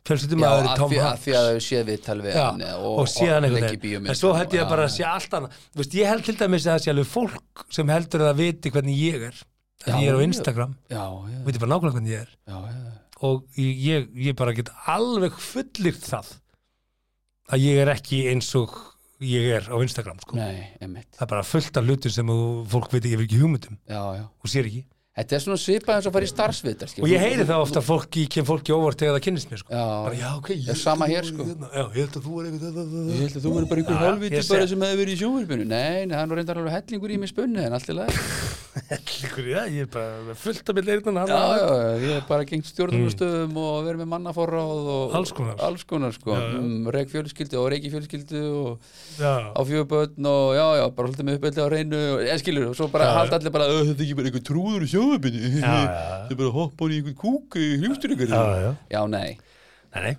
fjölskyldum
já
að
að,
það er Tom
því, að
Hanks
því að þau séð við tal við
Já,
hann eða-
og, síðan einhvern
eh, leik í
veginn
bíómynd
en svo held ég
Já,
að bara að sé allt annað Þú veist, ég held til dæmis að það sé alveg fólk sem heldur að það viti hvernig ég er en
Já,
ég er á
já.
Instagram,
Já, já,
viti bara nákvæmlega hvernig ég er
já, já.
og ég, ég bara get alveg fullir það að ég er ekki eins og ég er á Instagram sko.
Nei, emitt
það er bara fullt af hlutum sem þú- fólk veit ekki, ekki hugmyndum
Já, já
og sér ekki
Þetta er svona svipað eins og að fara í starfsvitar
og ég heyri það ofta að fólki, kem fólki óvart þegar það kynnist mér sko.
Já.
bara, já, ok, ég,
Já, sama hér, sko.
já, ég held að þú er eitthvað
Ég held að þú verður bara einhver
Já,
helviti
ég sé.
bara sem hefði verið í sjónvarpinu Nei, nei, hann var reyndar alveg hellingur í mig spunni en allt í lagi
Hellingur, já, ég er bara með fullt af mér leirinn
Já, já, já, ég hef bara gengt stjórnumstöðum og verið með mannaforráð og
Alls konar.
alls konar sko. Mm, Reyk fjölskyldu og reiki fjölskyldu og á
já,
fjögubötn og já, já, bara haldið með uppeldi á reynu og ég skilur, og svo bara haldi allir bara "Ö, þetta er ekki bara einhver trúður í sjóðubinni
já, já.
þetta er bara að hoppa hann í einhvern kúk í hljústuringar
já, já.
já, nei,
Nei, nei.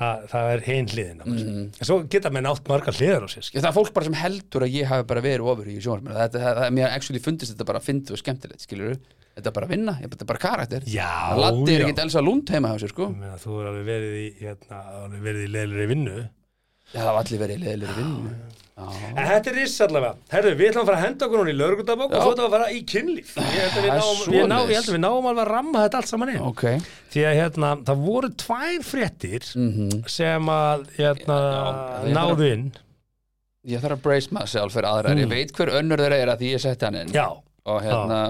Þa, það er hinn hliðin
Mhm.
mm. svo geta menn átt margar hliðar á sér skil.
Ég, það er fólk bara sem heldur að ég hafi bara verið ofur í sjónvarpinu, þetta, það, það, mér actually fundist þetta bara fyndu og skemmtilegt, skilur þetta er bara vinna, ég- þetta er bara karakter
Já,
Latti er
já. Mm.
ekkert Elsa Lund heima hjá sér, sko
Meina, þú er alveg verið í, hérna, alveg verið í leilri vinnu en
Já, það var allir verið leðilegur vinnu Já,
þetta er riss allavega herru, við ætlum að fara að henda okkur núna í lögreglutabók og svo ætlum við að fara í kynlíf ég held að við
Það er
náum, ég, ná,
svoleiðis.
ég held að við náum alveg að ramma þetta allt saman inn
ok
því að hérna, það voru tvær fréttir
Mhm.
sem að hérna,
Já, já.
náðu inn
Ég þarf að brace myself fyrir aðrar, ég veit hver önnur þeirra er að því ég setti hann inn
Mm. já,
og hérna,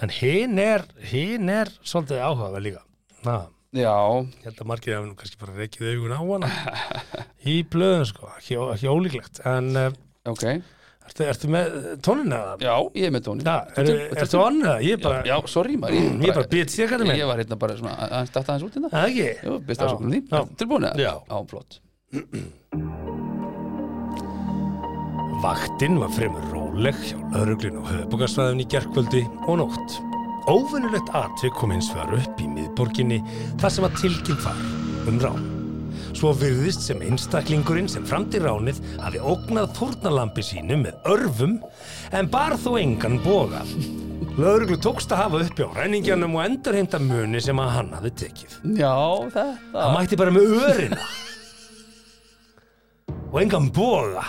en hinn er hinn er svolítið áhugaverð líka það
já,
Ég held að margir hafa nú kannski bara reykið augun á hana í blöðun sko, ekki, ekki ólíklegt en uh,
ok
ertu, ertu með tónina það?
Já, ég er með tónin
Ja, er, ertu onn það? Ég bara,
Já, sorry maður Ég,
ég bara býtt sér kallið minn
Ég var hérna bara svona að- að starta aðeins út hérna
Það ekki?
Jú, byrst afsökunum því
Já.
Tilbúin eða?
Já.
Já, flott
Vaktin var fremur róleg hjá lauruglun á höfbúkarsvæðin í gerkvöldi og nótt. Óvinnulegt atvik kom hins vegar upp í miðborginni þar sem að tilkinn var um rán. Svo virðist sem einstaklingurinn sem framdi ránið hafi ógnað þórnalampi sínu með örfum en bar þó engan boga. Lauruglu tókst að hafa uppi á ræningjanum og endurheimta muni sem að hann hafi tekið.
Já, þetta
Hann mætti bara með örina og engan boga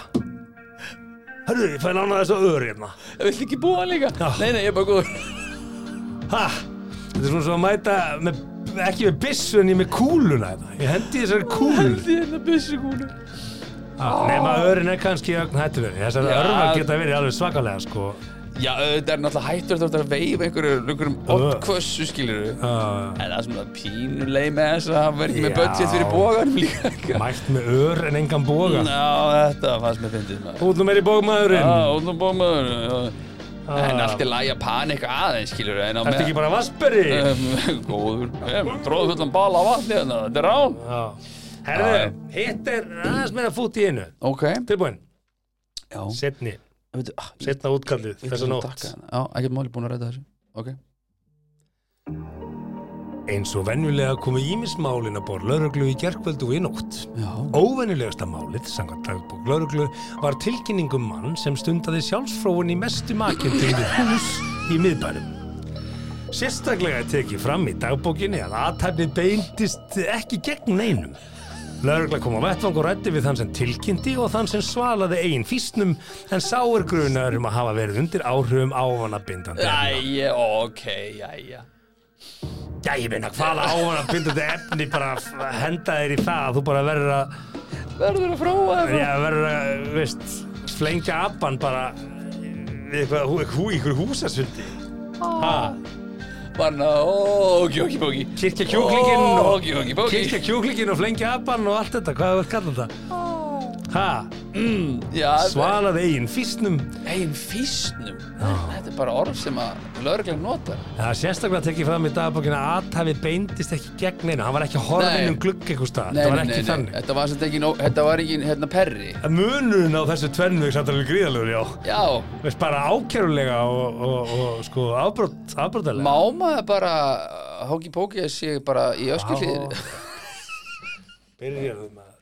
Hörðu, ég fæði lána þess að öður hérna
Viltu ekki búa líka?
Já.
Nei, nei, ég er bara góður
Ha, þetta er svona svo að mæta með, ekki með byssu en ég með kúluna hérna Ég hendi þessari kúlu
Því hérna byssu kúlu
Nefna öðurinn er kannski ögn hættulegri Þessari
Já.
örvar geta verið alveg svakalega sko
Já, þetta er náttúrulega hættur þú ert að veifa einhverju einhverjum oddkvössu, skilur En
uh,
það er svona pínuleg með þess að hann verði ekki með
Já.
budget fyrir bóganum líka
Mætt með ör en engan boga
Ná, þetta fannst mér fyndið maður
Út nú meiri bókmaðurinn
Já, ónum bómaður En allt er læg að panika aðeins, skilur En á
Ah. Ertu ekki bara vasperi?
Um, Góður, ég tróðu fullan bala af vatni þarna, þetta er rán
Já. Herðu, hitt er aðeins meira fút í einu
Ok,
Tilbúin,
já
setni,
Veitu, ah, ég-
setna útkallið
ég-
þessa
ég-
nótt
takka hana. Já, ekkert máli búin að ræta þessu Ok,
Eins og venjulega komu ímismálin að borð lauruglu í gerkvöldu og í nótt.
já
Óvenjulegasta málið, samkvæmt dagbók lauruglu, var tilkynningum mann sem stundaði sjálfsfróun í mestu makindum við hús í miðbærum. Sérstaklega er tekið fram í dagbókinni að aðtæfni beindist ekki gegn neinum. Laurugla kom á vettvang og rætti við þann sem tilkynnti og þann sem svalaði eigin físnum en sá er grunar um að hafa verið undir áhrifum ávanabindandi.
Æja, ok, jæja
Já, ég meina, hvaða ávan að binda þetta efni bara að henda þér í það að þú bara verður að,
Verður að fróa
já, verður að, veist, flengja abban bara við eitthvað, hú, hú, ykkur húsasundi. Ha,
Barna, ó, kjóki bóki
kirkja kjúklinginn og,
Ó, kjóki bóki
kirkja kjúklinginn og flengja abban og allt þetta, hvað er það að kalla þetta? Ha,
Já, það
svalað eigin físnum,
er eigin físnum Þetta er bara orð sem að lögreglega nota
það er sérstaklega tekið fram í dagbókina að hafi beindist ekki gegn neina, hann var ekki
Nei.
horfinn um glugg eitthvað stað, það var ekki þannig.
Þetta var sem ekki, þetta var ekki, hérna, perri
Munurinn á þessu tvennu er samt alveg gríðalegur, já.
Já,
Veist bara ákærulega og, og, og sko afbrot, afbrotalega
má maður bara Hóki bóki að sé bara í öskullíðinu
Byrjaðu maður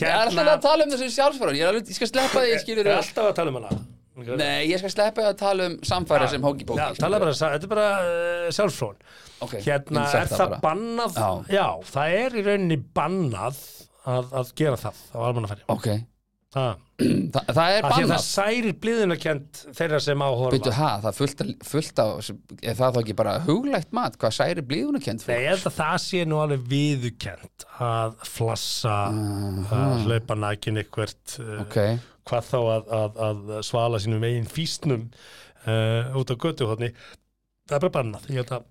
Ég er alltaf að tala um þessu sjálfsfráður, ég er alveg, ég skal sleppa því, skilur
Ég er alltaf að tala um hana
Nei, ég skal sleppa því að tala um samfæra sem hóki bóki
Já, tala bara, þetta er bara uh, sjálfsfrón
Ok, ég
Hérna, er
sett
það,
það bara.
bannað?
Já.
það er í rauninni bannað að, að gera það á almannafæri
Ok, mm,
Það
Þa, það er
af því að það
bannað
særir bliðunarkend þeirra sem
Byrju,
áhorfa
ha, það er fullt, af- fullt af, er það þá ekki bara huglægt mat, hvað særi blíðunarkend
Nei,
fyrir?
ég held að það sé nú alveg viðukend að flassa uh, hlaupa nakin eitthvert uh,
Mhm. Ok,
hvað þá að, að, að svala sínum eigin físnum uh, út á götuhotni það er bara bannað ég, held að,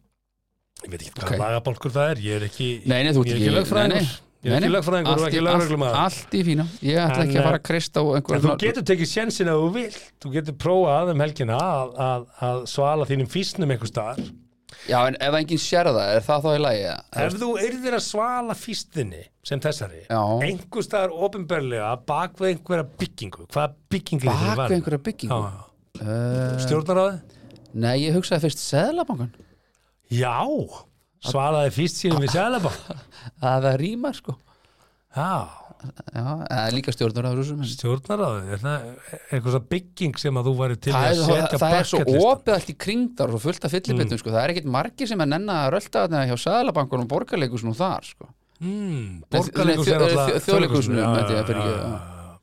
ég veit ekki hvað
Ok.
lagabálkur það er ég er ekki,
nei, nei, þú ert
ég er ekki
nei,
lögfræðingur
nei.
ég er
Nei,
ekki
nei.
lögfræðingur og
Allt í-
ekki lögreglumæður
allt, allt í fína, ég ætla
En,
ekki að fara
eh,
að krist á
en þú
einhverjum
getur tekið sjensin að þú vilt þú getur prófað um helgina að, að, að svala þínum físnum einhver staðar
Já, en ef enginn sér það, er það þá í lagi? eða?
ef þú yrðir að svala fístinni sem þessari,
Já.
einhver staðar ofinberlega bak við einhverja byggingu hvaða byggingu
Bak við einhverja Eh. byggingu?
uh. stjórnaráði
Nei, ég hugsaði fyrst seðlabankan
Já, svaraði fyrst sínum við Sælabank.
að það rýmar sko
Já,
Já, eða líka stjórnur af rúsum en-
stjórnaráðið, er það eitthvað svo bygging sem að þú væri til
Það
að
er,
setja Mm.
það, það er svo
bucketlista?
opið allt í kringdar og fullt af fyllibittum sko. það er ekkit margir sem er nenna að rölda þarna hjá saðalabankunum og borgarleikusnum þar sko.
Mm,
Nei,
borgarleikus
þjó-
er alltaf...
þjó- Þjóðleikhúsinu,
já,
meinti ég,
já,
fyrirgefðu,
já,
já.
já.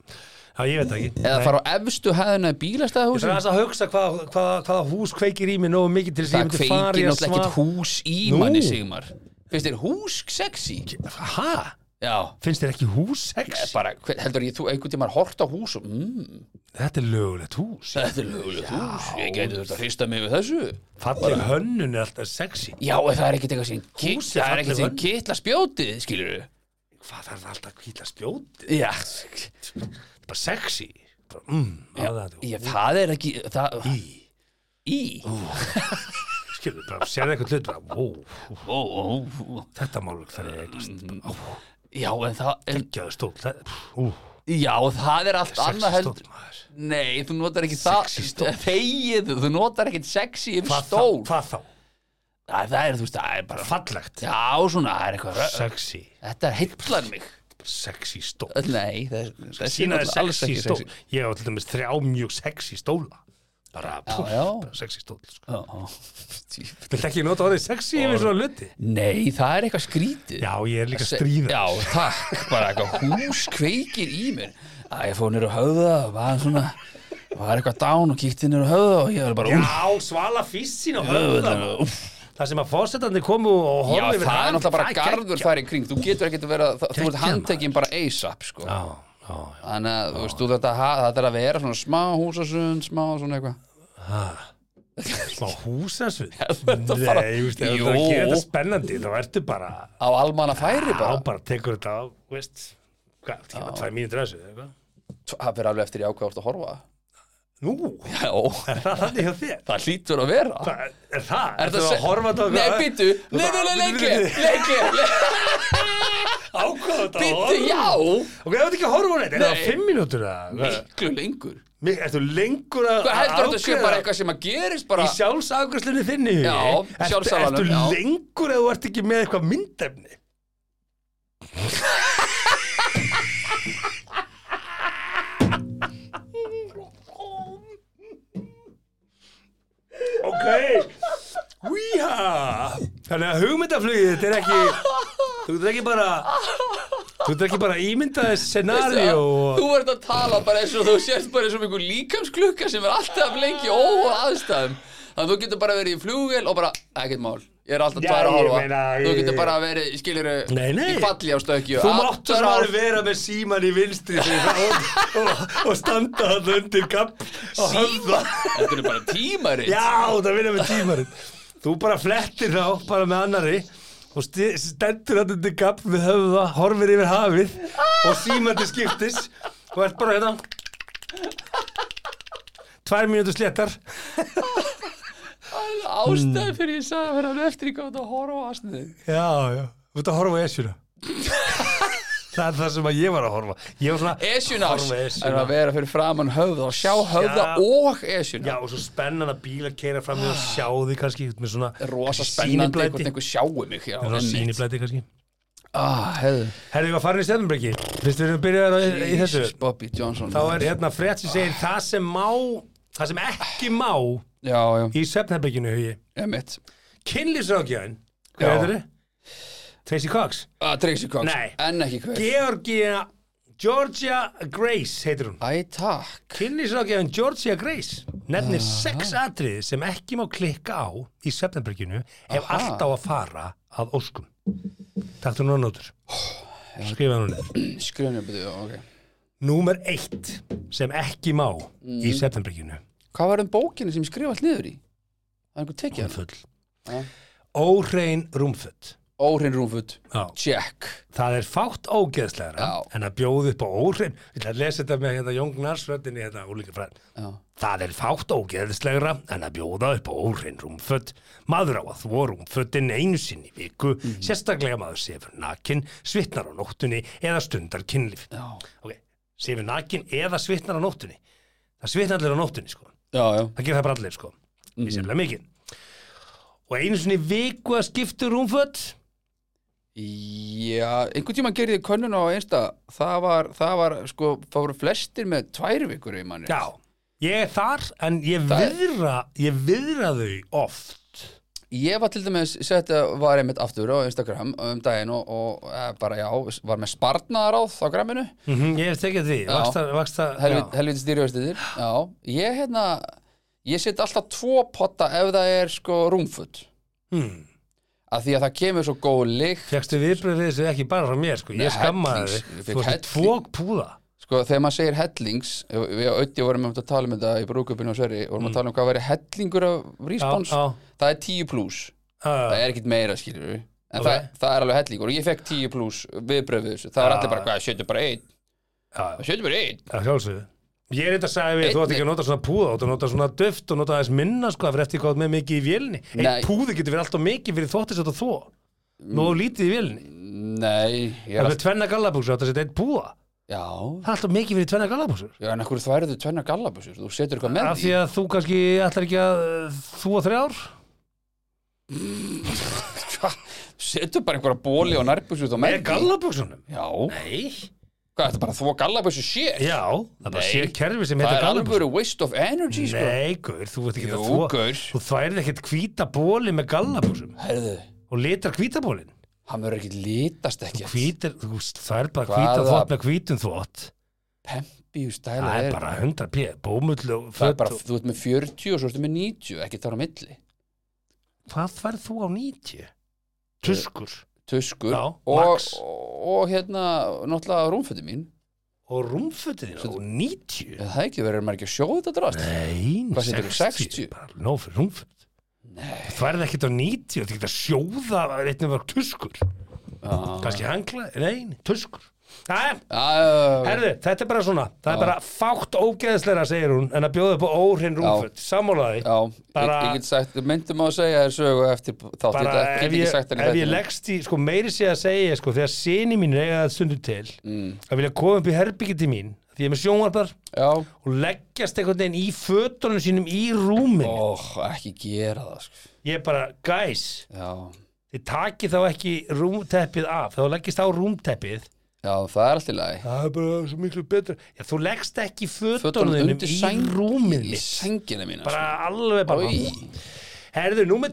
Já, ég veit það ekki.
eða
Nei.
fara á efstu hæðuna í
Ég þarf
bílastæðahúsin
aðeins að hugsa hvað, hvað, hvaða hús kveikir í mig nógu mikið til þess að
það
ég myndi
kveiki
fara í að
náttúrulega ekkit
svara.
hús í
Nú.
manni Sigmar finnst þér hús sexy?
Hæ?
Já, Eh,
Finnst þér ekki hús sex?
bara, hver- heldur ég þú einhvern tímann hort á hús og mm,
Þetta er lögulegt hús.
þetta er lögulegt hús ég geti þurft að hrista mig við þessu
Falleg hönnun er alltaf sexy.
Já, en það er ekkit eitthvað sem ki-
Hús er
það er
falleg
ekkit sem
völl.
kitla spjótið, skilur
Hvað þarf það alltaf að kvíla spjóti?
Já,
Bara sexy. Bara, mm, aðeins.
ég, það er ekki það,
Í.
Í
skilur, bara sérðu eitthvað hlut bara, ó,
ó, ó, ó.
þetta málug þarf ég eignast
Já, en það er,
geggjaðu stól það- ó,
Já, það er allt
sexy
annað held
stóll, maður.
Nei, þú notar ekki það
Sexy stóll.
Þegið, þú notar ekki sexy yfir
Hvað þá-
stól
hvað þá,
Æ, Það er, þú veist, það er bara
fallegt
Já, svona, það er eitthvað rö-
sexy,
Þetta heillar mig
sexy stól
Nei, það er
sínaði sexy stól ég á til dæmis þrjá mjög sexy stóla bara,
Já, já.
bara sexy stóll sko.
Já, já.
Viltu ekki nota orðið sexy yfir svona luti?
Nei, það er eitthvað skrítið
Já, ég er líka
Se-
stríða
Já, takk, bara eitthvað hús kveikir í mér Æ, ég fór nýr á höfða og var svona var eitthvað dán og kíkti nýr á höfða og ég var bara úf,
Já, svala fyrst sín á höfðan
úf.
Það sem að fósetandi komu
Já,
og
það
horfði
er náttúrulega bara
það er
garður þar í kring Þú getur ekkert að vera, það, þú ert handtekinn bara ASAP sko.
Já, já, já
Þannig að þú veist, þú þetta, þetta er að vera svona smá húsasund, smá svona eitthvað
Smá húsansvið
þetta bara-
Nei, þú veist, ef
Jú.
þú ert að gera þetta spennandi þá ertu bara
Á almanna færi
Já,
bara
bara tekur þetta á, veist Hvað, tíma tvæ mínútur að þessu eða eitthvað
Það fyrir alveg eftir í ákveð átt að horfa
Nú,
Já,
er það þannig hjá þér?
það hlýtur að vera
Hvað, Er það?
Er
Ertu
það
að horfa þetta á
Nei,
hvað-
býttu,
Þú
nei, nei,
bara-
nei, leikli, leikli
Ákvað þetta að
Býttu,
horfa
já,
Ok, ef þetta ekki að horfa á þetta, er það
Nei.
fimm mínútur eða? Hvað?
miklu lengur
Mig- Ertu lengur að
Hvað heldur þetta sé
ákveða-
bara eitthvað sem að gerist bara
Í sjálfsafgræslunni þinni
Já,
Hugi? Ertu-
sjálfsálanum,
Ertu
já.
lengur eða þú ert ekki með eitthvað myndefni? ok Újá Þannig að hugmyndaflugið þetta er ekki Þú ert ekki bara Þú ert ekki bara ímyndaðið scenaríu og
Þú ert að tala bara eins og þú sést bara eins og um einhver líkamsklukka sem er alltaf lengi óa aðstæðum Þannig að þú getur bara verið í flugvél og bara, ekkert mál Ég er alltaf
Já,
tvær og
ég
hálfa
meina,
Þú
ég-
getur bara verið, skilur
Nei, nei.
í kvalli á stökju
Þú máttu
Allar
bara
hálf-
vera með síman í vinstri fyrir það og, og, og standa hann undir kapp og höfða.
Þetta er bara tímaritt
Já, það vinna með tímarinn. Þú bara flettir þá, bara með annari og sti- stendur hann undir kapp með höfða, horfir yfir hafið og síman til skiptis og ert bara hérna. Tvær mínútur sléttar. Mm.
Ástæð fyrir ég sagði að vera alveg eftir í gátt að horfa á aðstæðu
Já, já. Þú ert að horfa á esjuna. Það er það sem að ég var að horfa. Ég var svona...
Esjunás
Horfa á
er
Esjuna.
að vera fyrir framann höfða og sjá höfða
Já.
og esjuna
Já, og svo spennan að bíla keira fram
Ah.
og sjá því kannski út með svona
rosa spennandi
sýniblæti.
hvort einhver sjáu mig já,
Svona
einmitt.
sýniblæti kannski
ah, hefðu
Herðu, ég var farin í stefnumbreki Fyrst við erum byrjaðar á- í- í þessu
Jesus, Bobby Johnson
Þá er hérna frétt sem segir það sem má Það sem ekki má
já, já,
í svefnherbekinu hugi
emitt
Kynlýsrákjæðin
Já.
Hvað heitir þið? Tracy Cox
ah, Tracy Cox,
Nei.
en ekki hver
Georgia Georgia Grace heitir hún
æ, takk
Kynlýsrákjæðin Georgia Grace nefnir sex atriði sem ekki má klikka á í svefnherbekinu ef
Aha.
allt á að fara að óskum Takk þú nú nótur Skrifa nú niður
skrunum, betur, ok
Númer eitt sem ekki má
Mm.
í septembríkinu
hvað var um bókinu sem ég skrifa allt niður í? það er einhver tekið hann
Rúmfull
Já.
Óhrein rúmfull
óhrinn rúmfutt,
Já.
check
Það er fátt ógeðslegra
Já.
en að bjóða upp á óhrein Ég ætla að lesa þetta með hérna Jóngnarsröddinni hérna úlíka fræn
já,
Það er fátt ógeðslegra en að bjóða upp á óhrein rúmföt. Maður á að þvó rúmfötin einu sinni í viku,
Mhm.
sérstaklega maður sefur nakin, svitnar á nóttunni eða stundar kynlíf.
Já.
Ok, sefur nakin eða svitnar á nóttunni. Það svitnar allir á nóttunni, sko.
já, já,
það gera það bara allir sko mm. ég
Mhm.
sefnilega mikið og einu sinni í viku að skipta um rúmföt
já einhvern tíma gerði ég könnun á einsta það var, það var, sko, það voru flestir með tvær vikur í manni
já, ég er þar en ég
Það er-
viðra ég viðra þau oft
Ég var til dæmis, þetta var einmitt aftur á Instagram um daginn og, og e, bara já, var með spartnaðaráð á gramminu,
mm -hmm, ég hef tekið því
Já.
vaksta, vaksta,
helviti helvit stýrjóðstíðir Já, ég hérna ég set alltaf tvo potta ef það er sko rúmfutt
hmm.
af því að það kemur svo góð lykt
fegstu viðbröð við þessu ekki bara frá mér sko ég
Nei,
skammaði
helling,
þig
ég fékk
þú veist
helling.
tvo púða
sko, þegar maður segir hellings við og Öddi vorum um að tala um þetta í brúkupinu og Sverri, vorum að tala um hvað væri hellingur af respons,
Hmm. já.
það er 10 plus
uh,
það er ekkit meira skilur við en
Ok.
það, það er alveg hellingur og ég fekk 10 plus viðbröfið þessu, það var
Já.
allir bara hvað, sjötu bara einn sjötu bara einn
að sjálfsögðu Ég er þetta að sagði við, þú átt ekki að nota svona púða, þú átt að nota svona duft og nota aðeins minna sko, fyrir eftir hvað þú ert með mikið í vélni.
Nei.
Einn púði getur verið alltaf mikið fyrir þóttis að þó. Nú á lítið í vélni.
Nei, ég
Það
er
er
alltaf
með tvenna gallabúsur, þetta setja einn púða.
Já,
Það er alltaf mikið fyrir tvenna gallabúsur.
já en hverju þværið þú tvenna gallabusur? Þú setur eitthvað með
Af
því
því að þú kannski ætlar ekki að uh, þú og þrjár.
Hva? Setur bara einhverja bóli og nærbusur þá með
gallabúsunum?
Já,
Nei.
Hvað, þetta bara að þvó gallabössu shit?
Já, það er bara
Nei.
sér kerfi sem
það
heitir
er
gallabössu
alveg waste of energy, sko.
Nei, gaur, þú veit ekki
Jú,
að þú
gaur.
Þú þværið ekkert hvíta bóli með gallabúsum
Herðu,
og litar hvíta bólin
hann verður ekki litast ekkert.
Hvítir, þú þværið bara
Hvaða-
hvíta þvott með hvítum þvott
Pempíu stæla
Það
er,
er bara 100 p Bómull og
það er
föt
bara,
og-
þú ert með 40 og svo ertu með 90, ekki þar á milli.
Hvað þværið þú á 90? Tuskur
Tuskur
Já,
og,
lax.
og, og hérna, náttúrulega rúmfötu mín.
og rúmfötin þín á 90
Það er ekki verið maður ekki að sjóða þetta drast.
Nein,
Hvað seturðu, 60?
Bara nóg fyrir rúmföt Nei Þværið ekkert á 90 Þú getur að sjóða einnig var tuskur Kanski hangla, nein, tuskur Æ,
Ah,
Herðu, þetta er bara svona, það er bara fátt ógeðsleira, segir hún, en að bjóða upp á óhrinn rúmföt, sammálaði.
Já, bara,
Bara-
ég, ég get sagt, myndum á að segja þér sögu eftir þátt,
Bara
ég get
ef
ekki
ég,
sagt henni
ef ég leggst í, sko, meiri sé að segja, sko, þegar sinni mín eiga það stundu til,
Mm.
að vilja koma upp í herbyggi til mín, því ég er með sjónvarpar,
Já,
og leggjast einhvern veginn í fötunum sínum í rúmin.
ó, ekki gera það, sko.
Ég er bara, guys,
Já,
þið takið þá ekki rúmteppið af, þá leggist á rúmteppið.
já, það er allt í lagi.
Það er bara svo miklu betra. Já, þú leggst ekki í fötunum
Fötunum
þínum
undir
í
sæng-
rúmin
Í
mitt.
sengina mína,
bara alveg bara
Oj.
herðu, númer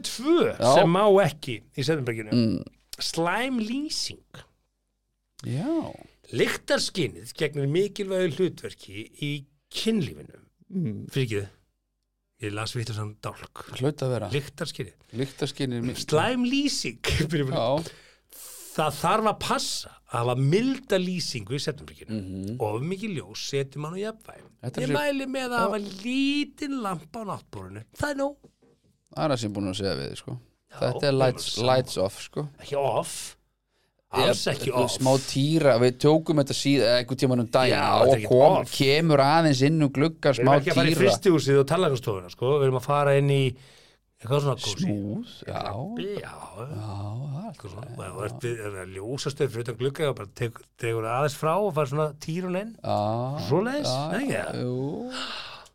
Já.
tvö
Mm.
sem má ekki í Sennberginu slæm lýsing
sko. Já.
lyktarskinnið gegnir mikilvægu hlutverki í kynlífinu mm. fyrir ekki ég las vitt og sann dálk
Hlaut að vera
lyktarskinnið,
Lyktaskinnir mín
slæm lýsing fyrir fyrir.
Já,
það þarf að passa að hafa milda lýsingu í Sennberginu mm -hmm. og mikið ljós setjum hann á
Mhm. Þetta er
jafnvæg ég
sér-
mæli með að hafa lítinn lampa á náttbórunu, það er nóg
það er það sem ég er búin að segja við þig, sko Þetta er lights,
sama.
lights off sko
ekki off alls
Ég-
ekki
þetta er
off
Smá týra, við tókum þetta síða eitthvað tímann um daginn
Já, þetta er
og
ekkert
kom,
off.
kemur aðeins inn um glugga
við erum
smá
ekki að fara í
týra
fristihúsið og talarastofuna sko. við erum að fara inn í eitthvað svona kósi
Smúð, já,
já, eitthvað svona og ef þú ert að ljósastöð fyrir utan glugga og bara tek- dregur aðeins frá og fara svona týrun inn
já
svo leiðis, ekki það
Jú,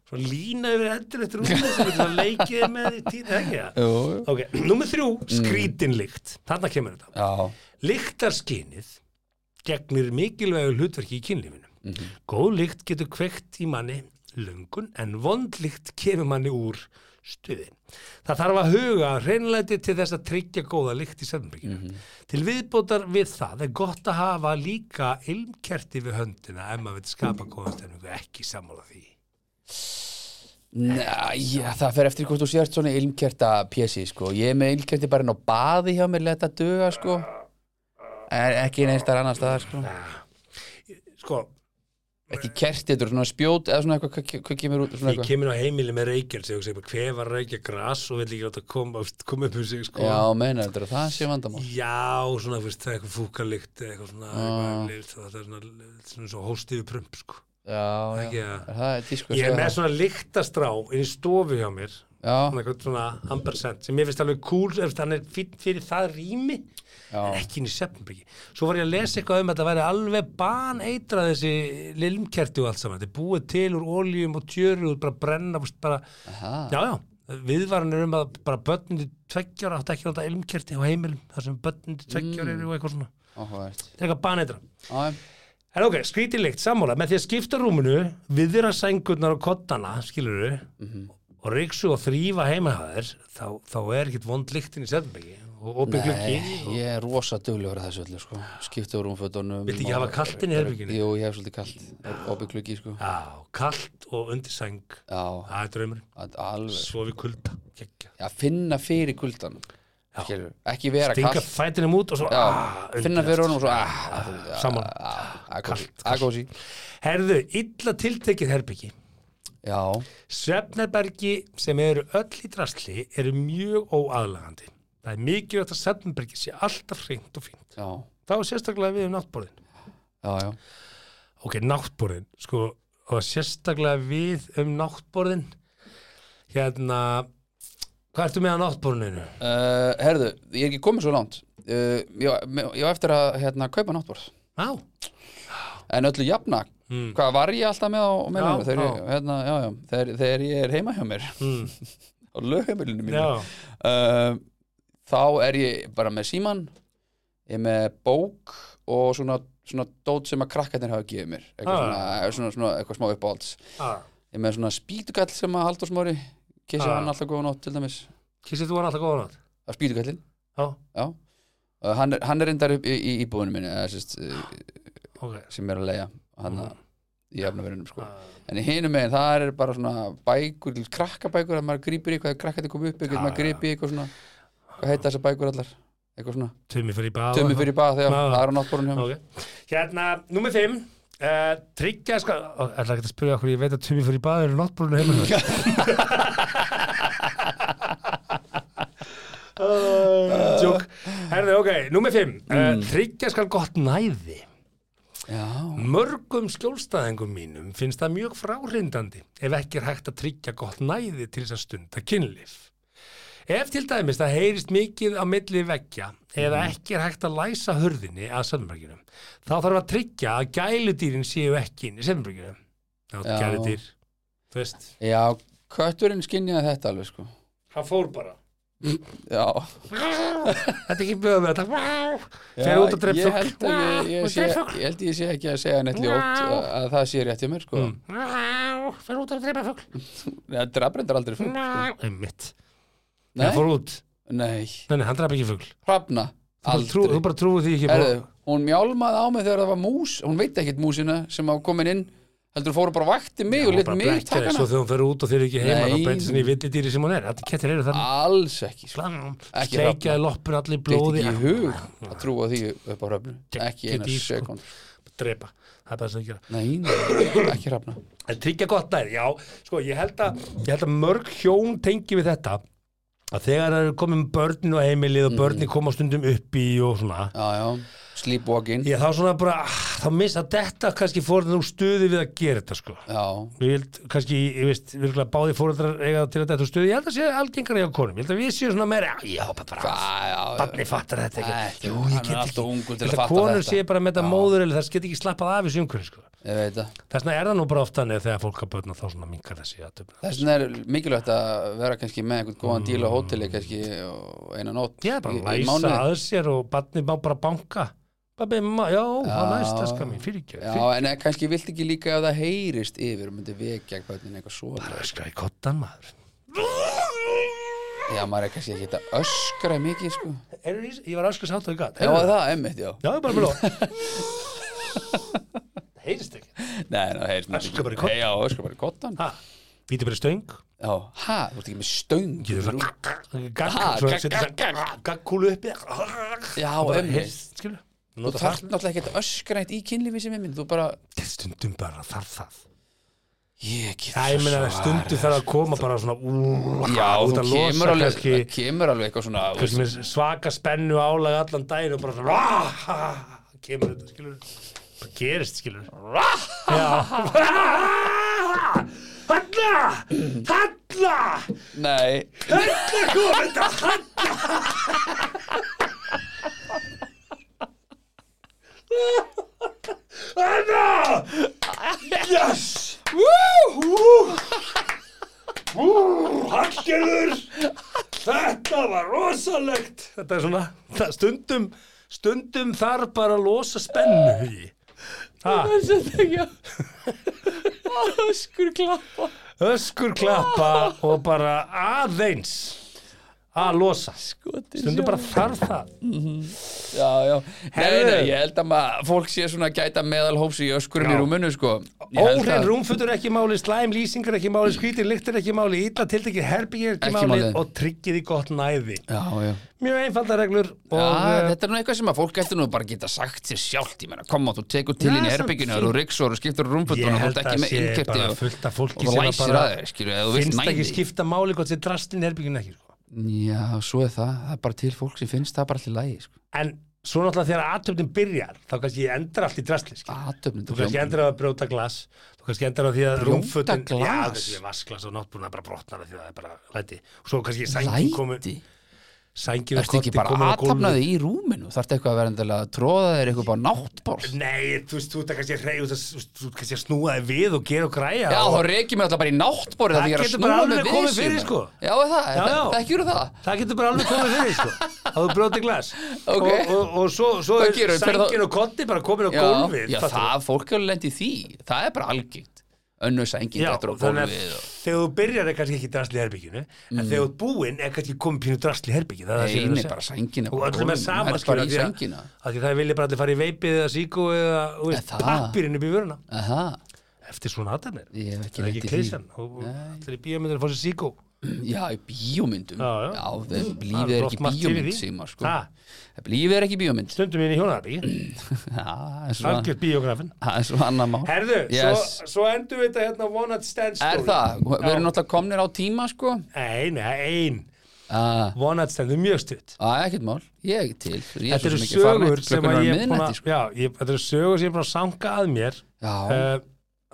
svo lína yfir endur eftir rúmi sem við erum að leikið með í týrun, ekki það
jú Mm.
ok, nummer þrjú, skrítinlikt þarna kemur þetta
Já,
Lyktarskynið gegnir mikilvægu hlutverki í kynlífinu.
Mhm.
Góð lykt getur kveikt í manni lungun en vond lykt kemur manni úr stuði. Það þarf að huga að hreinlæti til þess að tryggja góða lykt í sennbygginu.
Mhm.
Til viðbótar við það er gott að hafa líka ilmkerti við höndina ef maður veit skapa góða stemningu ekki sammála því.
Næ, já, það fer eftir hvort þú sért svona ilmkerta pjessi, sko. Ég er með ilmkerti bara inn á baði hjá mér, leta duga, sko. Er ekki neins þar annars staðar, sko.
Sko,
Ekki kerti, þetta er svona spjót eða svona eitthvað, hvað- hvað kemur út, svona
ég
eitthvað.
kemur á heimili með reykjel sem ég hver var að reykja gras og vill ekki láta koma kom upp um sig sko.
Já, meina, þetta er það sé vandamál.
Já, svona, þú veist, það er eitthvað fúkalikt eitthvað svona,
Ah.
eitthvað lykt, það er svona, svona, svona hóstiðu prump, sko.
Já, já.
Ekki að-
Er Ah, það tísku?
Ég er með svona lyktastrá inn í stofu hjá mér,
Já,
svona eitthvað svona ambersent, sem ég finnst alveg cool, ef hann er fýtt fyrir það rými, en
já.
ekki inn í sefnbyggi. Svo var ég að lesa eitthvað um að þetta væri alveg baneitrað þessi lilmkerti og allt saman, þetta er búið til úr oljum og tjöru og bara brenna, þú veist, bara,
Aha.
já, já. Viðvaranir um að bara börnundi tveggjára átt ekki að láta ilmkerti á heimilum þar sem börnundi tveggjára eru og eitthvað svona.
Mm. Áhugavert.
Það er eitthvað baneitra.
Já, já.
En ok, skrítilegt, sammála, með því að skipta rúminu, viðra sængurnar og kottana, skilur við,
Mhm.
og ríksu og þrýfa heimahaðir, þá, þá er ekkit vond lyktin í Sennbeki og opið gluggi. og-
Ég er rosa duglegur að þessu öllu, sko. Skipta úr rúmfötunum.
Viltu ekki
og-
hafa kalt inn í herberginu?
Jú, ég hef svolítið kalt. Opið klukki, sko.
Já, kalt og undir sæng,
Já,
það er draumurinn,
alveg.
svo við kulda, geggja.
að finna fyrir kuldanum skilur, ekki vera
Stinga
kalt
fætinum út og svo, ah,
já, finna fyrir honum og svo ah,
saman.
kalt agósi
Herðu, illa tiltekið herbyggi.
já,
Svefnerbergi sem eru öll í drasli eru mjög óaðlagandi. Það er mikilvægt að svefnerbergi sé alltaf hreint og fínt.
já,
þá er sérstaklega við um náttborðin
já, já
ok, náttborðin, sko og sérstaklega við um náttborðin hérna hvað ertu með á náttborðinu?
uh, herðu, ég er ekki komið svo langt uh, ég, ég ég á eftir að hérna, kaupa náttborð
á,
en öllu jafna hvað var ég alltaf með á meðlum
Hmm. Já,
þegar,
já.
ég- hérna, já, já, þegar, þegar ég er heima hjá mér á lögheimilinu mínu
Hmm, já,
uh, þá er ég bara með síman ég er með bók og svona svona dót sem að krakkarnir hafa gefið mér eitthvað,
Ah.
svona, eh, svona, svona, eitthvað smá uppáhalds
Ah.
ég er með svona spýtugall sem að Halldór Smári kissa
Ah.
hann alltaf góða nótt til dæmis
Kissið þú hann alltaf góðan átt?
að spýtugallin,
Já,
já Uh, hann er, hann er reyndar upp í, í íbúðinu minni eða, sérst,
ok.
sem er að leiða hann að í efnaverunum sko.
Ah.
en í hinum megin það er bara svona bækur, krakkabækur að maður grípur í eitthvað krakkandi kom upp, eitthvað
Já,
maður grípur í eitthvað svona hvað heita þessar bækur allar eitthvað svona,
Tumi fyrir í bað.
tömmi fyrir í bað þegar
Já.
það Ah. er á náttborun hjá mér.
Ok. Hérna, númer 5. Uh, tryggja sko Það er ekki að spyrja okkur, ég veit að Tumi fyrir í bað eru náttbúrinu heima hjá þér. Ah, Djók Herðu, ok, númer 5 uh, Tryggja skal gott næði
já,
Mörgum skjólstæðingum mínum finnst það mjög fráhrindandi ef ekki er hægt að tryggja gott næði til þess að stunda kynlif. Ef til dæmis það heyrist mikið á milli veggja eða
Mhm.
ekki er hægt að læsa hurðinni að selmberginum, þá þarf að tryggja að gæludýrin séu ekki inn í selmberginum. Já,
Já.
gæludýr, þú veist,
já, kötturinn skinjaði þetta alveg sko
hann fór bara.
já,
Þetta er ekki bjöðum með þetta.
já
Fer út og dreif
ég,
fugl.
held að ég, ég, sé, ég held ég sé ekki að segja neitt ljótt að að það sé rétt hjá mér sko mm.
Fyrir út að dreipa fugl.
það drafbrendar aldrei fugl sko.
Einmitt.
nei,
Hann fór út.
nei,
Nei, nei, hann draf ekki fugl.
hrafna
Þú bara trú- Þú
aldrei
bara trúið því ekki bara-
Herðu, hún mjálmaði á mig þegar það var mús hún veit ekkert músina sem á komin inn heldur fóru bara og vakti mig og
Hún
lit
bara
mig
blekkja
taka
þig svo
hana
þegar hún fer út og þeir eru ekki heima
Nei.
þá beitir sinni í villidýri sem hún er þetta kettir eru þannig
alls ekki sko. Ekki
sleikjaði loppur allir
Þetta
blóði Ah,
ekki í hug að trúa því upp á hrafnu ekki
Geggjað
eina
dýr, sko.
sekund
drepa það er bara sem gera
nei, nei, ekki hrafna
en tryggja gott nær já sko ég held að ég held að mörg hjón tengi við þetta að þegar það eru komin börnin og heimilið
Mm.
og börnin koma stundum upp í og svona
já, já, sleepwalking
ég þá svona bara ah, þá missa þetta kannski fórðan úr stuði við að gera þetta sko
já,
Ég held kannski, ég veist, virkulega báði fóreldrar eiga til að þetta stuði, ég held að sé algengara hjá konum, ég held að við séu svona meira, já, ég hoppa bara,
já, já, já.
Barni fattar þetta
Ekki,
ekki Jú,
hann
ég
er
get
alltof ungur til
ekki
að
Þetta
fatta
konur
þetta.
sé bara með þetta móður Það get ekki slappað af í sjungur sko.
ég veit það
Þess vegna er það nú bara ofta neð þegar fólk að börna þá svona minkar þessi aðtöfna
þess vegna er mikilvægt að vera kannski með einhvern góðan díl á hóteli kannski og eina nótt
Mm. Já,
í-
bara
í
læsa
mánuði.
að sér og barnið má bara banka Babi, ma, já, það næst það skar mér,
já,
fyrirgjöf
en eh, kannski vilt ekki líka ef það heyrist yfir og myndi vekja hvernig eitthvað svo
Það er skræði kottan maður
já, maður er kannski ekki að öskra mikið sko.
Er, Ég var öskur sátt og ég gat
já, það er emmitt, já
Já, ég bara blóð Heyrist ekki
Nei, það heyrst maður
Öskra bara í
ekki. Nei, Já, öskra bara í kottan
Ha, víti bara í stöng
Já, hæ, þú ert ekki með stöng
Getur
Þú-
svona
Ha,
Gakkúlu
gagg, gagg,
uppi Gakkúlu uppi
Já,
Og bara
emmi.
heyrst, skilur
Þú
Nota
þarf
það
náttúrulega ekki að öskra eitt í kynlífi sem er minn Þú bara,
Þetta stundum bara þarf það
ég get
Já, ég
svo
meina
svarað.
stundum þarf að koma bara svona ú,
Já,
út
þú
að
kemur
losa
alveg,
kannski,
kemur alveg eitthvað svona þú
kannski með svaka spennu álag allan daginn og bara svona rá, ha, ha, ha, kemur þetta, skilur bara gerist, skilur rá, Já Halla Halla
veist. Nei,
Halla kom þetta Halla Halla Yes Woo Woo Hallgerður Þetta var rosalegt Þetta er svona það- stundum stundum þarf bara að losa spennu í ha,
öskur klappa
öskur klappa og bara aðeins að losa stundum bara þarf það
Já, já, nei,
Herðu.
nei, ég held að maður, fólk sé svona að gæta meðalhóps í öskurum í
Já.
rúmunu, sko Ég held
Óhrein
að-
rúmfutur ekki máli, slæm lýsingar ekki máli, skrítin lyktir ekki máli, illa tiltekið herbyggir ekki,
Ekki
máli,
máli.
og tryggið í gott næði.
Já, já
Mjög einfalda reglur og
Já,
eh,
þetta er nú eitthvað sem að fólk eftir nú bara geta sagt sér sjálft, ég meina, koma, þú tekur til
Já,
inn í
samt
herbygginu,
fínt.
þú riksor og skiptur
ég
rúmfötunum, þú ert
held að
ekki
það
með
sé
innkjöpti
bara
og-
fullt af
og
fólki
þú
sem að
læsir
bara
að þér, skilju, eða þú vilt
finnst ekki
næði
skipta máli hvort sér drastlinn herbyggin ekki. Sko.
Já, svo er það, það er bara til fólk sem finnst það bara allir lægi, sko
En svo náttúrulega þegar aðtöfnin byrjar, þá kannski ég endar allt í drastlinn.
Ah,
Sko.
Aðtöfnum,
Þú kannski endur á að brjóta glas Þú kannski endur á því að
Brjóta
rúmfötin
glas?
Já, þessi vasklas og náttbúna bara brotnar af því að það er bara læti Og svo kannski sængin komin
Læti,
Sængin og
ertu ekki
kotti
bara
komin á gólfið
aðtöfnaði í rúminu, þarftu eitthvað að vera endilega að tróða þér eitthvað bara á náttborð
Nei, þú veist, þú ert að kannski að reyja Þú veist, þú ert kannski að snúa þig við og gera og græja
Já,
og
þá reykjum við alltaf bara í náttborð
Það
Það
getur bara alveg komið fyrir, sko.
Já, er það,
Já, já.
það ekki eru það
Það getur bara alveg komið fyrir, sko að þú brjóti glas
Ok.
og, og, og svo, svo
Hvað
er
gerum við? Fyrir þá-
sængin og kotti bara komin á
já,
gólfið
já
fattar
það, fólk er lendið því það er bara algengt önnur sængin
Já,
dættur á
þannig að
gólfið og...
þegar þú byrjar er kannski ekki drasli í herbygginu en þegar þú ert búinn er kannski komið pínu drasli í herbygginu það er það sem ég er að
eini
segja.
bara sængin
og öllum er sama
er bara
skilur,
í
því að-
sængina
af því það vilja bara allir fara í veipið eða síku eða þú veist,
það?
pappirinn upp í vöruna
aha
eftir svona aðdarnir
Ég hef ekki
það er
lent í
ekki
því.
klísan og og allir í bíómyndir að fá sér síku
Já, í bíómyndum
Já, já.
þeim, lífið er
Það er
ekki
oft margt til í
bíómynd
því.
Sigmar, sko.
Ha?
Lífið er ekki bíómynd
stundum inn í hjónaðarbyggi
Það er svo-
algjörð bíógrafin
það er svo annar mál
herðu,
Yes.
svo, svo endum við þetta hérna one night stand story
Er það? Við erum náttúrulega komnir á tíma sko
ein, ein,
Það
one night stand, það er mjög stutt
er ekkert mál, ég er til ég er svo
þetta eru
sem ekki farinn
sögur
neitt.
sem
Klukkan
að
er
ég er búin
miðnætti
að
sko.
já, ég, þetta eru sögur sem ég er búin að sanga að mér
Já,
uh,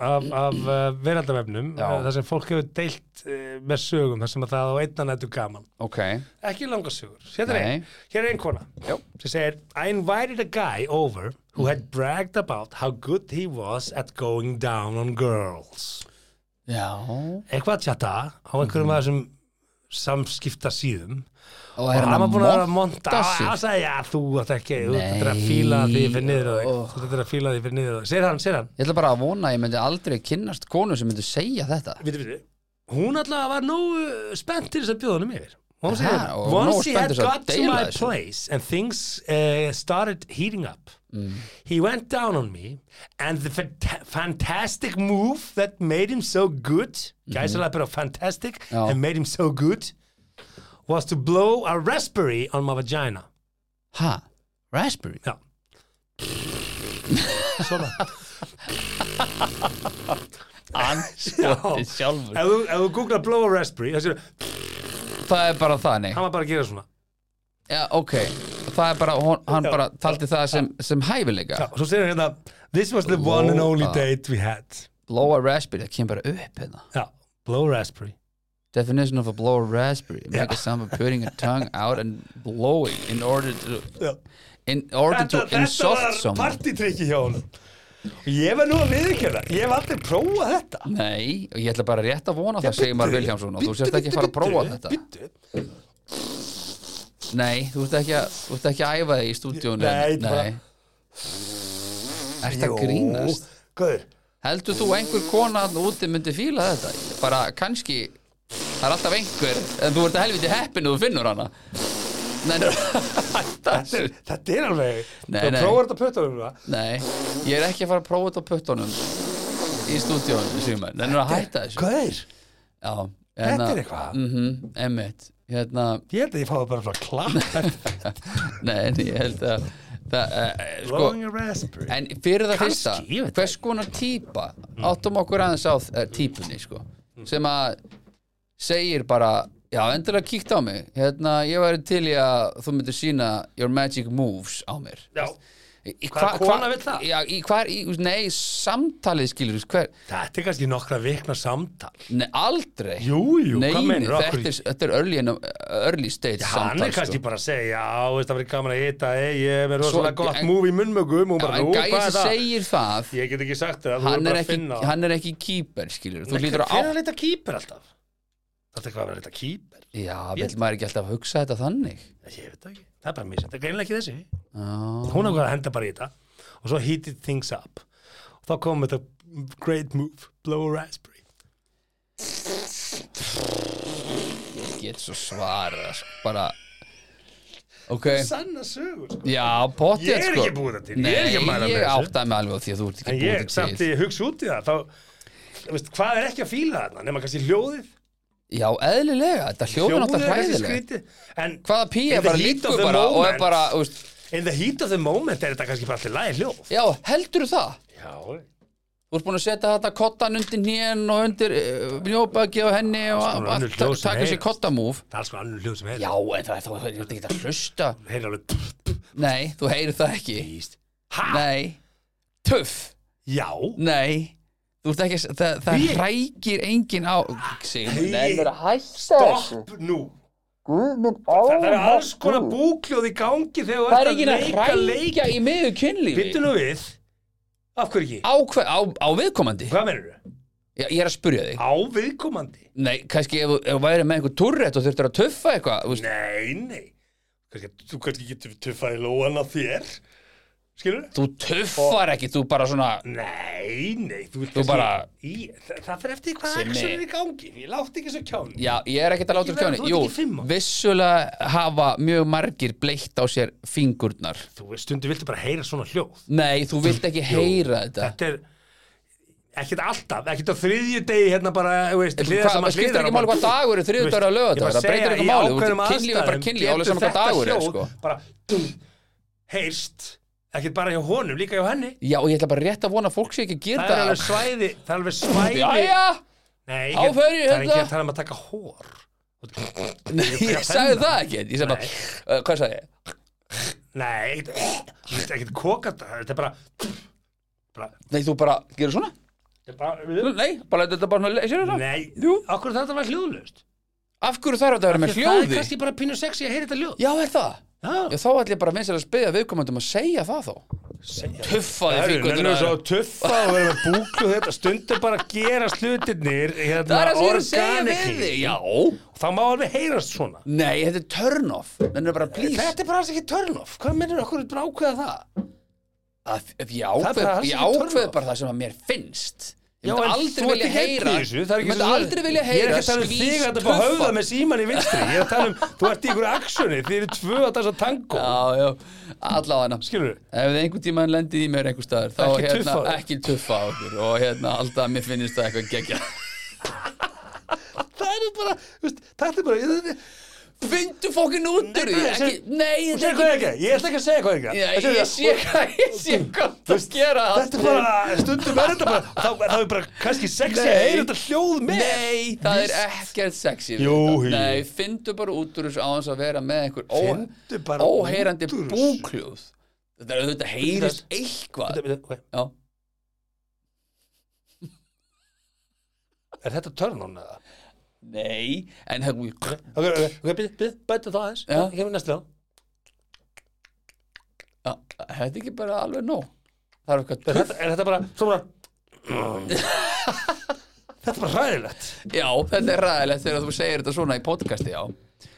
af, af uh, veraldavefnum
Já.
uh, þar sem fólk hefur deilt uh, með sögum þar sem að það á einnan þetta gaman
ok
ekki langa sögur, hérna er
Nei.
ein hér er ein kona
Já.
sem segir I invited a guy over who had bragged about how good he was at going down on girls
Já,
eitthvað að tjata á
Mhm.
einhverjum af þessum samskipta síðum
og
og
er
hann var búin að vera að monta
monta
og
sig?
hann sagði, já, þú ætti ekki þú
Nei.
ætti að fíla því fyrir niður á þig
Oh.
þú ætti að fíla því fyrir niður á þig segir hann, segir hann
Ég ætla bara að vona að ég myndi aldrei kynnast konu sem myndi segja þetta
Vitu, vitu. hún alltaf var nógu spennt til þess að bjóða honum yfir hún
Ha, og
segir hann
nógu
once he
spennt
had
til þess að
got to
deila
my
þessu."
place and things uh, started heating up
Mm.
he went down on me and the fant- fantastic move that made him so good
Mm-hmm.
gæsalega bara fantastic
Já.
and made him so good was to blow a raspberry on my vagina
Ha, raspberry?
Já Svona
Anskotið sjálfur
Ef þú, ef þú googlar blow a raspberry Það séu,
Það er bara þannig
hann var bara að gera svona
Já, ok, það er bara, hon, hann bara taldi það sem, sem hæfileika
Já, Svo segir hann hérna This was the one and only
Blow a-
date we had
Blow a raspberry, það kemur bara upp hérna
Já, blow a raspberry
Definition of a blow a raspberry Make a sound of putting a tongue out and blowing in order to
Já.
in order to insult
var
someone
partytrykki hjá honum Og ég var nú að viðkjöna Ég hef aldrei prófað þetta
Nei, og ég ætla bara rétt að vona það, segir maður Vilhjámsson og þú
Bíddu,
sérst ekki að fara að
bíddu,
prófa
bíddu,
þetta
bíddu.
Nei, þú ert ekki að, þú ert ekki að æfa þig í stúdíónu
Nei, bara-
Nei. Ert að
Jú,
grínast
Guður
Heldur þú einhver kona þarna úti myndi fíla þetta? Bara kannski, það er alltaf einhver, en þú ert að helviti heppin og þú finnur hana. Nei, nei, það er-
Þetta er alveg
Nei,
Þú
nei.
prófar þetta pötunum það
nei, ég er ekki að fara að prófa þetta á puttunum í stúdíónu, sumar. Nei, nú er að hætta þessu.
Guður
Já, hérna,
Þetta er eitthvað.
mhm, Emmitt, hérna,
Ég held að ég fáið bara frá
Sko-
klapp
nei, en ég held að, það, eh, sko,
Blowing a raspberry
en fyrir það
Kannski,
fyrsta,
ég veit það
hvers konar típa, áttum okkur aðeins á eh, típunni, sko,
Mm.
sem að segir bara já, endilega kíkt á mig hérna, ég væri til í að þú myndir sína your magic moves á mér
Já,
Í- í
Hvaða
hva-
kona
hva-
vill það?
Já, í hvar, í, nei, samtalið skilur þú, hver,
þetta er kannski nokkra vikna samtal
nei, aldrei
Jú, jú,
nei,
hvað meinarðu, af
þetta,
hverju?
er, þetta er early, in- early stage
Hann
samtal
er kannski
sko.
bara að segja, já, veist, það verið gaman að hita hey, ég er með rosalega
Svo-
gott
en-
múf í munnmögum
Já,
og bara,
en
nú, hvað
gæði
er það?
segir það
Ég get ekki sagt þér það, þú
hann er,
verður bara að
ekki,
finna
hann er ekki keeper skilur þú
Nei,
lítur
Hver er
á
að leita kýper alltaf? Þetta er hvað að vera að leita kýper?
já, vill maður ekki alltaf hugsa þetta þannig
Ég veit það ekki, það er bara misjænt, það er greinlega ekki þessi
já,
Hún ákvað að henda bara í þetta og svo heated things up og þá kom þetta great move, blow a raspberry
ég get svo svara sko, bara ok
Sanna sögur, sko
Já, potið
Ég er
sko.
ekki búið það til, ég er ekki að
Nei,
mæla með
ég
þessu.
áttaði mig alveg á því að þú ert ekki
En
búið
ég
það
samt
til
í hugsa út í það þá, veist, hvað er ekki að fíla þarna nema kannski hljóðið
Já, eðlilega, þetta hljóður náttúrulega
kannski
hræðilega
skrítið en
Hvaða píja
In the
bara
heat
líkur
of the
bara og er
moment.
bara, úst,
in the heat of the moment er þetta kannski bara allir lagi hljóð
já, heldur það?
já,
Þú ert búin að setja þetta kottan undir nén og undir mjóbaki og henni og
Alls konar
allt-
Sko, önnur hljóð sem
taka sér
heyrast.
kottamúf
það er sko annar hljóð sem
Já,
heyrðist.
en það er þá, þú ert ekki að hlusta
Þeir eru alveg pff, pff,
Nei, þú heyrir það ekki
píst. ha,
Nei, tuff
já
Nei, þú ert ekki að, það, það
Hví?
hrækir enginn á Sigur, nei, það er að hætta þessu
stopp nú Guð minn Það er alls konar búkljóð í gangi þegar þú
Það er
ert
ekki að hrækja
leik
í miður kynlífi
Vittu nú við Af hverju ekki?
á, hver, á, á viðkomandi
Hvað mennur þau?
Já, Ég er að spurja þig
Á viðkomandi
Nei, kannski ef þú ef þú væri með einhver turret og þurftir að töffa eitthvað þú veist,
Nei, nei kannski, þú kannski getur tuffað í lóan á þér skilur
Þú tuffar ekki, þú bara svona
nei, nei, þú, vilt
Þú
kannski
bara-
í, það, það fyrir eftir hvað
Simmi.
action er í gangi, ég látti ekki svo kján
Já, ég er ekkert að láta úr
Ekki
kjáni
verður- þú ert
Jú,
ekki fimm ára.
vissulega hafa mjög margir bleitt á sér fingurnar
þú veist, stundu viltu bara heyra svona hljóð
Nei, þú vilt ekki heyra þetta
þetta er ekkert alltaf, ekkert á þriðju degi hérna bara, þú veist, hliðar sem
Hvað-
að
skiptir ekki máli hvað dagur er þriðudagur að lögadagur, það breytir ekki máli, þú ert kynlíf er bara kynlíf, alveg saman hvað dagur er, sko.
bara, dum, heyrst, ekkert bara hjá honum, líka hjá henni
Já, og ég ætla bara rétt að vona að fólk sé ekki að gera þetta
það er alveg svæði það er alveg svæði
Jæja,
Nei,
Á
ekki-
hverju,
það er ekki
hérna?
að tala um að taka hór
Nei, ég sagði það ekki Ég sagði bara, uh, hvað sagði ég?
Nei, ekkert- ekkert ekkert kokað þetta er bara, bara,
Nei, þú bara, gerðu svona?
þetta er bara
Nei, bara þetta er bara svona leysir þetta
Nei,
Jú.
okkur þetta var hljóðlust
Af hverju þarf þetta að vera með
Það er
hljóði?
kannski bara pínu sexy að heyra þetta hljóð
Já, er það?
Já,
Já, þá ætlum ég bara vinsir að spyrja viðkomandum að segja það þá
segja
Puffaði
Það eru
fíkundina
nefnir svo tuffa og verður að búklu þetta hérna. stundum bara að gera slutirnir hérna,
Það er að segja að segja við
organically.
þig Já
þá má alveg heyrast svona
Nei, þetta er turn off Þannig er bara, please
Þetta er bara alls ekki turn off hvað minnir okkur að ákveða það?
að, ef Ég
er
ákveð,
bara það sem
ég
er turn
ákveð
off.
bara það sem að mér finnst Ég
Já,
myndi
en
aldrei
þú ert
vilja
ekki
heyra
einn í þessu, það er
Ég
ekki
myndi
svo-
aldrei vilja
Ég er
heyra
ekki að tala um þig að
skvís
þetta bara höfða
tuffa.
með síman í vinstri Ég er að tala um, þú ert í ykkur aksjoni Þið eru tvö að dansa tango
Já, já, allavega
Skilur við?
Ef þið einhvern tímann lendið í mér einhver staðar þá
Ekki
hérna,
tuffa á þig.
ekki tuffa á okkur og hérna alltaf að mér finnist það eitthvað gegja
Það er bara, þú veist, það er bara Ég ég-
Findu fokkin út úr því
Nei,
ekki,
sem-
Nei,
þú
þetta
segir
er
hvað
ekki
ekki Ég ætla ekki að segja hvað ekki
Já,
Það segir
Ég
það,
sé hvað ég sé hvað það gera
Þetta er bara, stundum er þetta bara Þá þá er bara kannski sexy að
Nei.
heyra þetta hljóð með
Nei, það er ekkert sexy við
Jú,
þetta.
jú.
Nei, findu bara út úr þessu á hans að vera með einhver
Finndu bara
ó, óheyrandi
út úr þessu.
búkljóð Þetta er auðvitað heyrist eitthvað
Bíddu, bíddu,
Já,
Er þetta turn on eða?
nei En hérna, það
Ok, ok, ok, byrð, byrð, bæta það aðeins
Já.
Já, kemur næstu lag
Já, Þetta er ekki bara alveg nóg Það er eitthvað
Er þetta, er þetta bara, svo bara Þetta er bara hræðilegt
Já, þetta er ræðilegt þegar þú segir þetta svona í podcasti, já.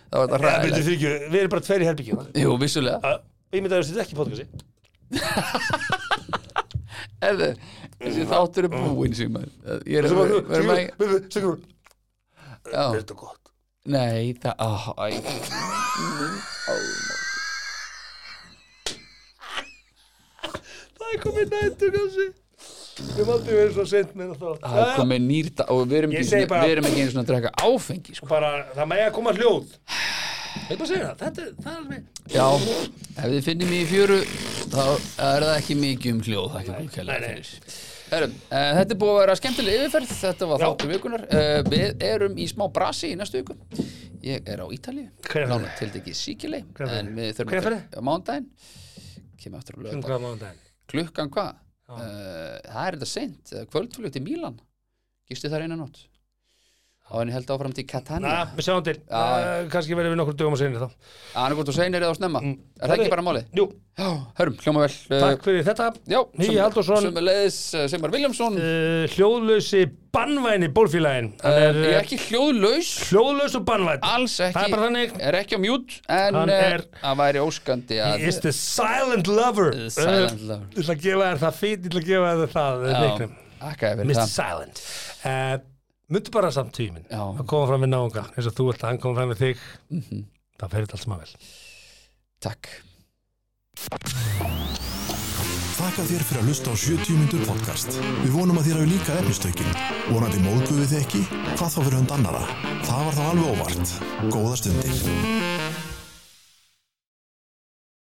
Það var þetta
Já, byrju,
ræðilegt.
því ekki, við erum bara tveir í herbyggjóða
Jú, vissulega.
Ég myndi að þetta er ekki í podcasti
Erðu, þessi þáttur er búinn, Sigmar. Ég er
Svo
að
bara,
vera með...
Sigrún, Sigrún, Sigrún, er
Já,
þetta gott?
nei, það... Oh, æ.
Það er komið nættur kannski Við máttum vera svo sent með það
Það er komið nýrta og við erum
Ég
ekki,
segi
svona-
bara-
við erum ekki einu svona að draka áfengi, sko.
Bara, það mæja að koma hljóð Ég bara segja það, þetta er, það er alveg
Já, ef þið finnir mig í fjöru, þá er það ekki mikið um hljóð, það er ekki kælega
nei, nei.
fyrir. Herum, uh, þetta er búið að vera skemmtileg yfirferð, þetta var
Já.
þáttur vikunar. Uh, við erum í smá brasi í næstu viku. Ég er á Ítalíu.
Hver er það?
til ekki síkileg
Hvenær ferðu?
en við þurfum
Hvenær
að
ferðu?
á mándaginn kemur aftur að lögða
Hvað mánu daginn?
klukkan hvað uh, það er þetta seint, kvöldflug til Mílan gistu þar eina nótt á henni held áfram til
Na,
Catania
við sjáum til, Eh, kannski verðum við nokkur dögum að segja þá
annarkot og seinir eða á snemma er það
Heyrðu,
ekki bara málið?
Jú,
Já, hörum, hljóma vel uh,
Mm. takk fyrir þetta
já,
Hugi Halldórsson.
sem leiðis Sigmar Viljámsson uh,
uh, Hljóðlösi bannvæni bólfélagin Hann er
ég er
eh, Ah,
ekki hljóðlaus
hljóðlaus og bannvæn
alls ekki,
Það er bara þannig.
er ekki á mjút en
Hann
eh,
er-
það væri óskandi að
It's the silent lover
The silent
Eh,
lover.
Ég ætla að gefa þér það fít, ég ætla að gefa þér það eh,
Já,
leiknum
þakka þér fyrir
Mr.
það
Silent uh, Möndu bara samt tíminn
Já.
að koma fram við náunga eins og þú ert að hann koma fram við þig
Mhm.
það ferði allt saman vel
takk
Þakka þér fyrir að hlusta á 70 myndur podcast. Við vonum að þér hafi líka efnistökin. Vonandi móðguðu þið ekki? Hvað þá fyrir hund annara? Það var þá alveg óvart. Góða stundir.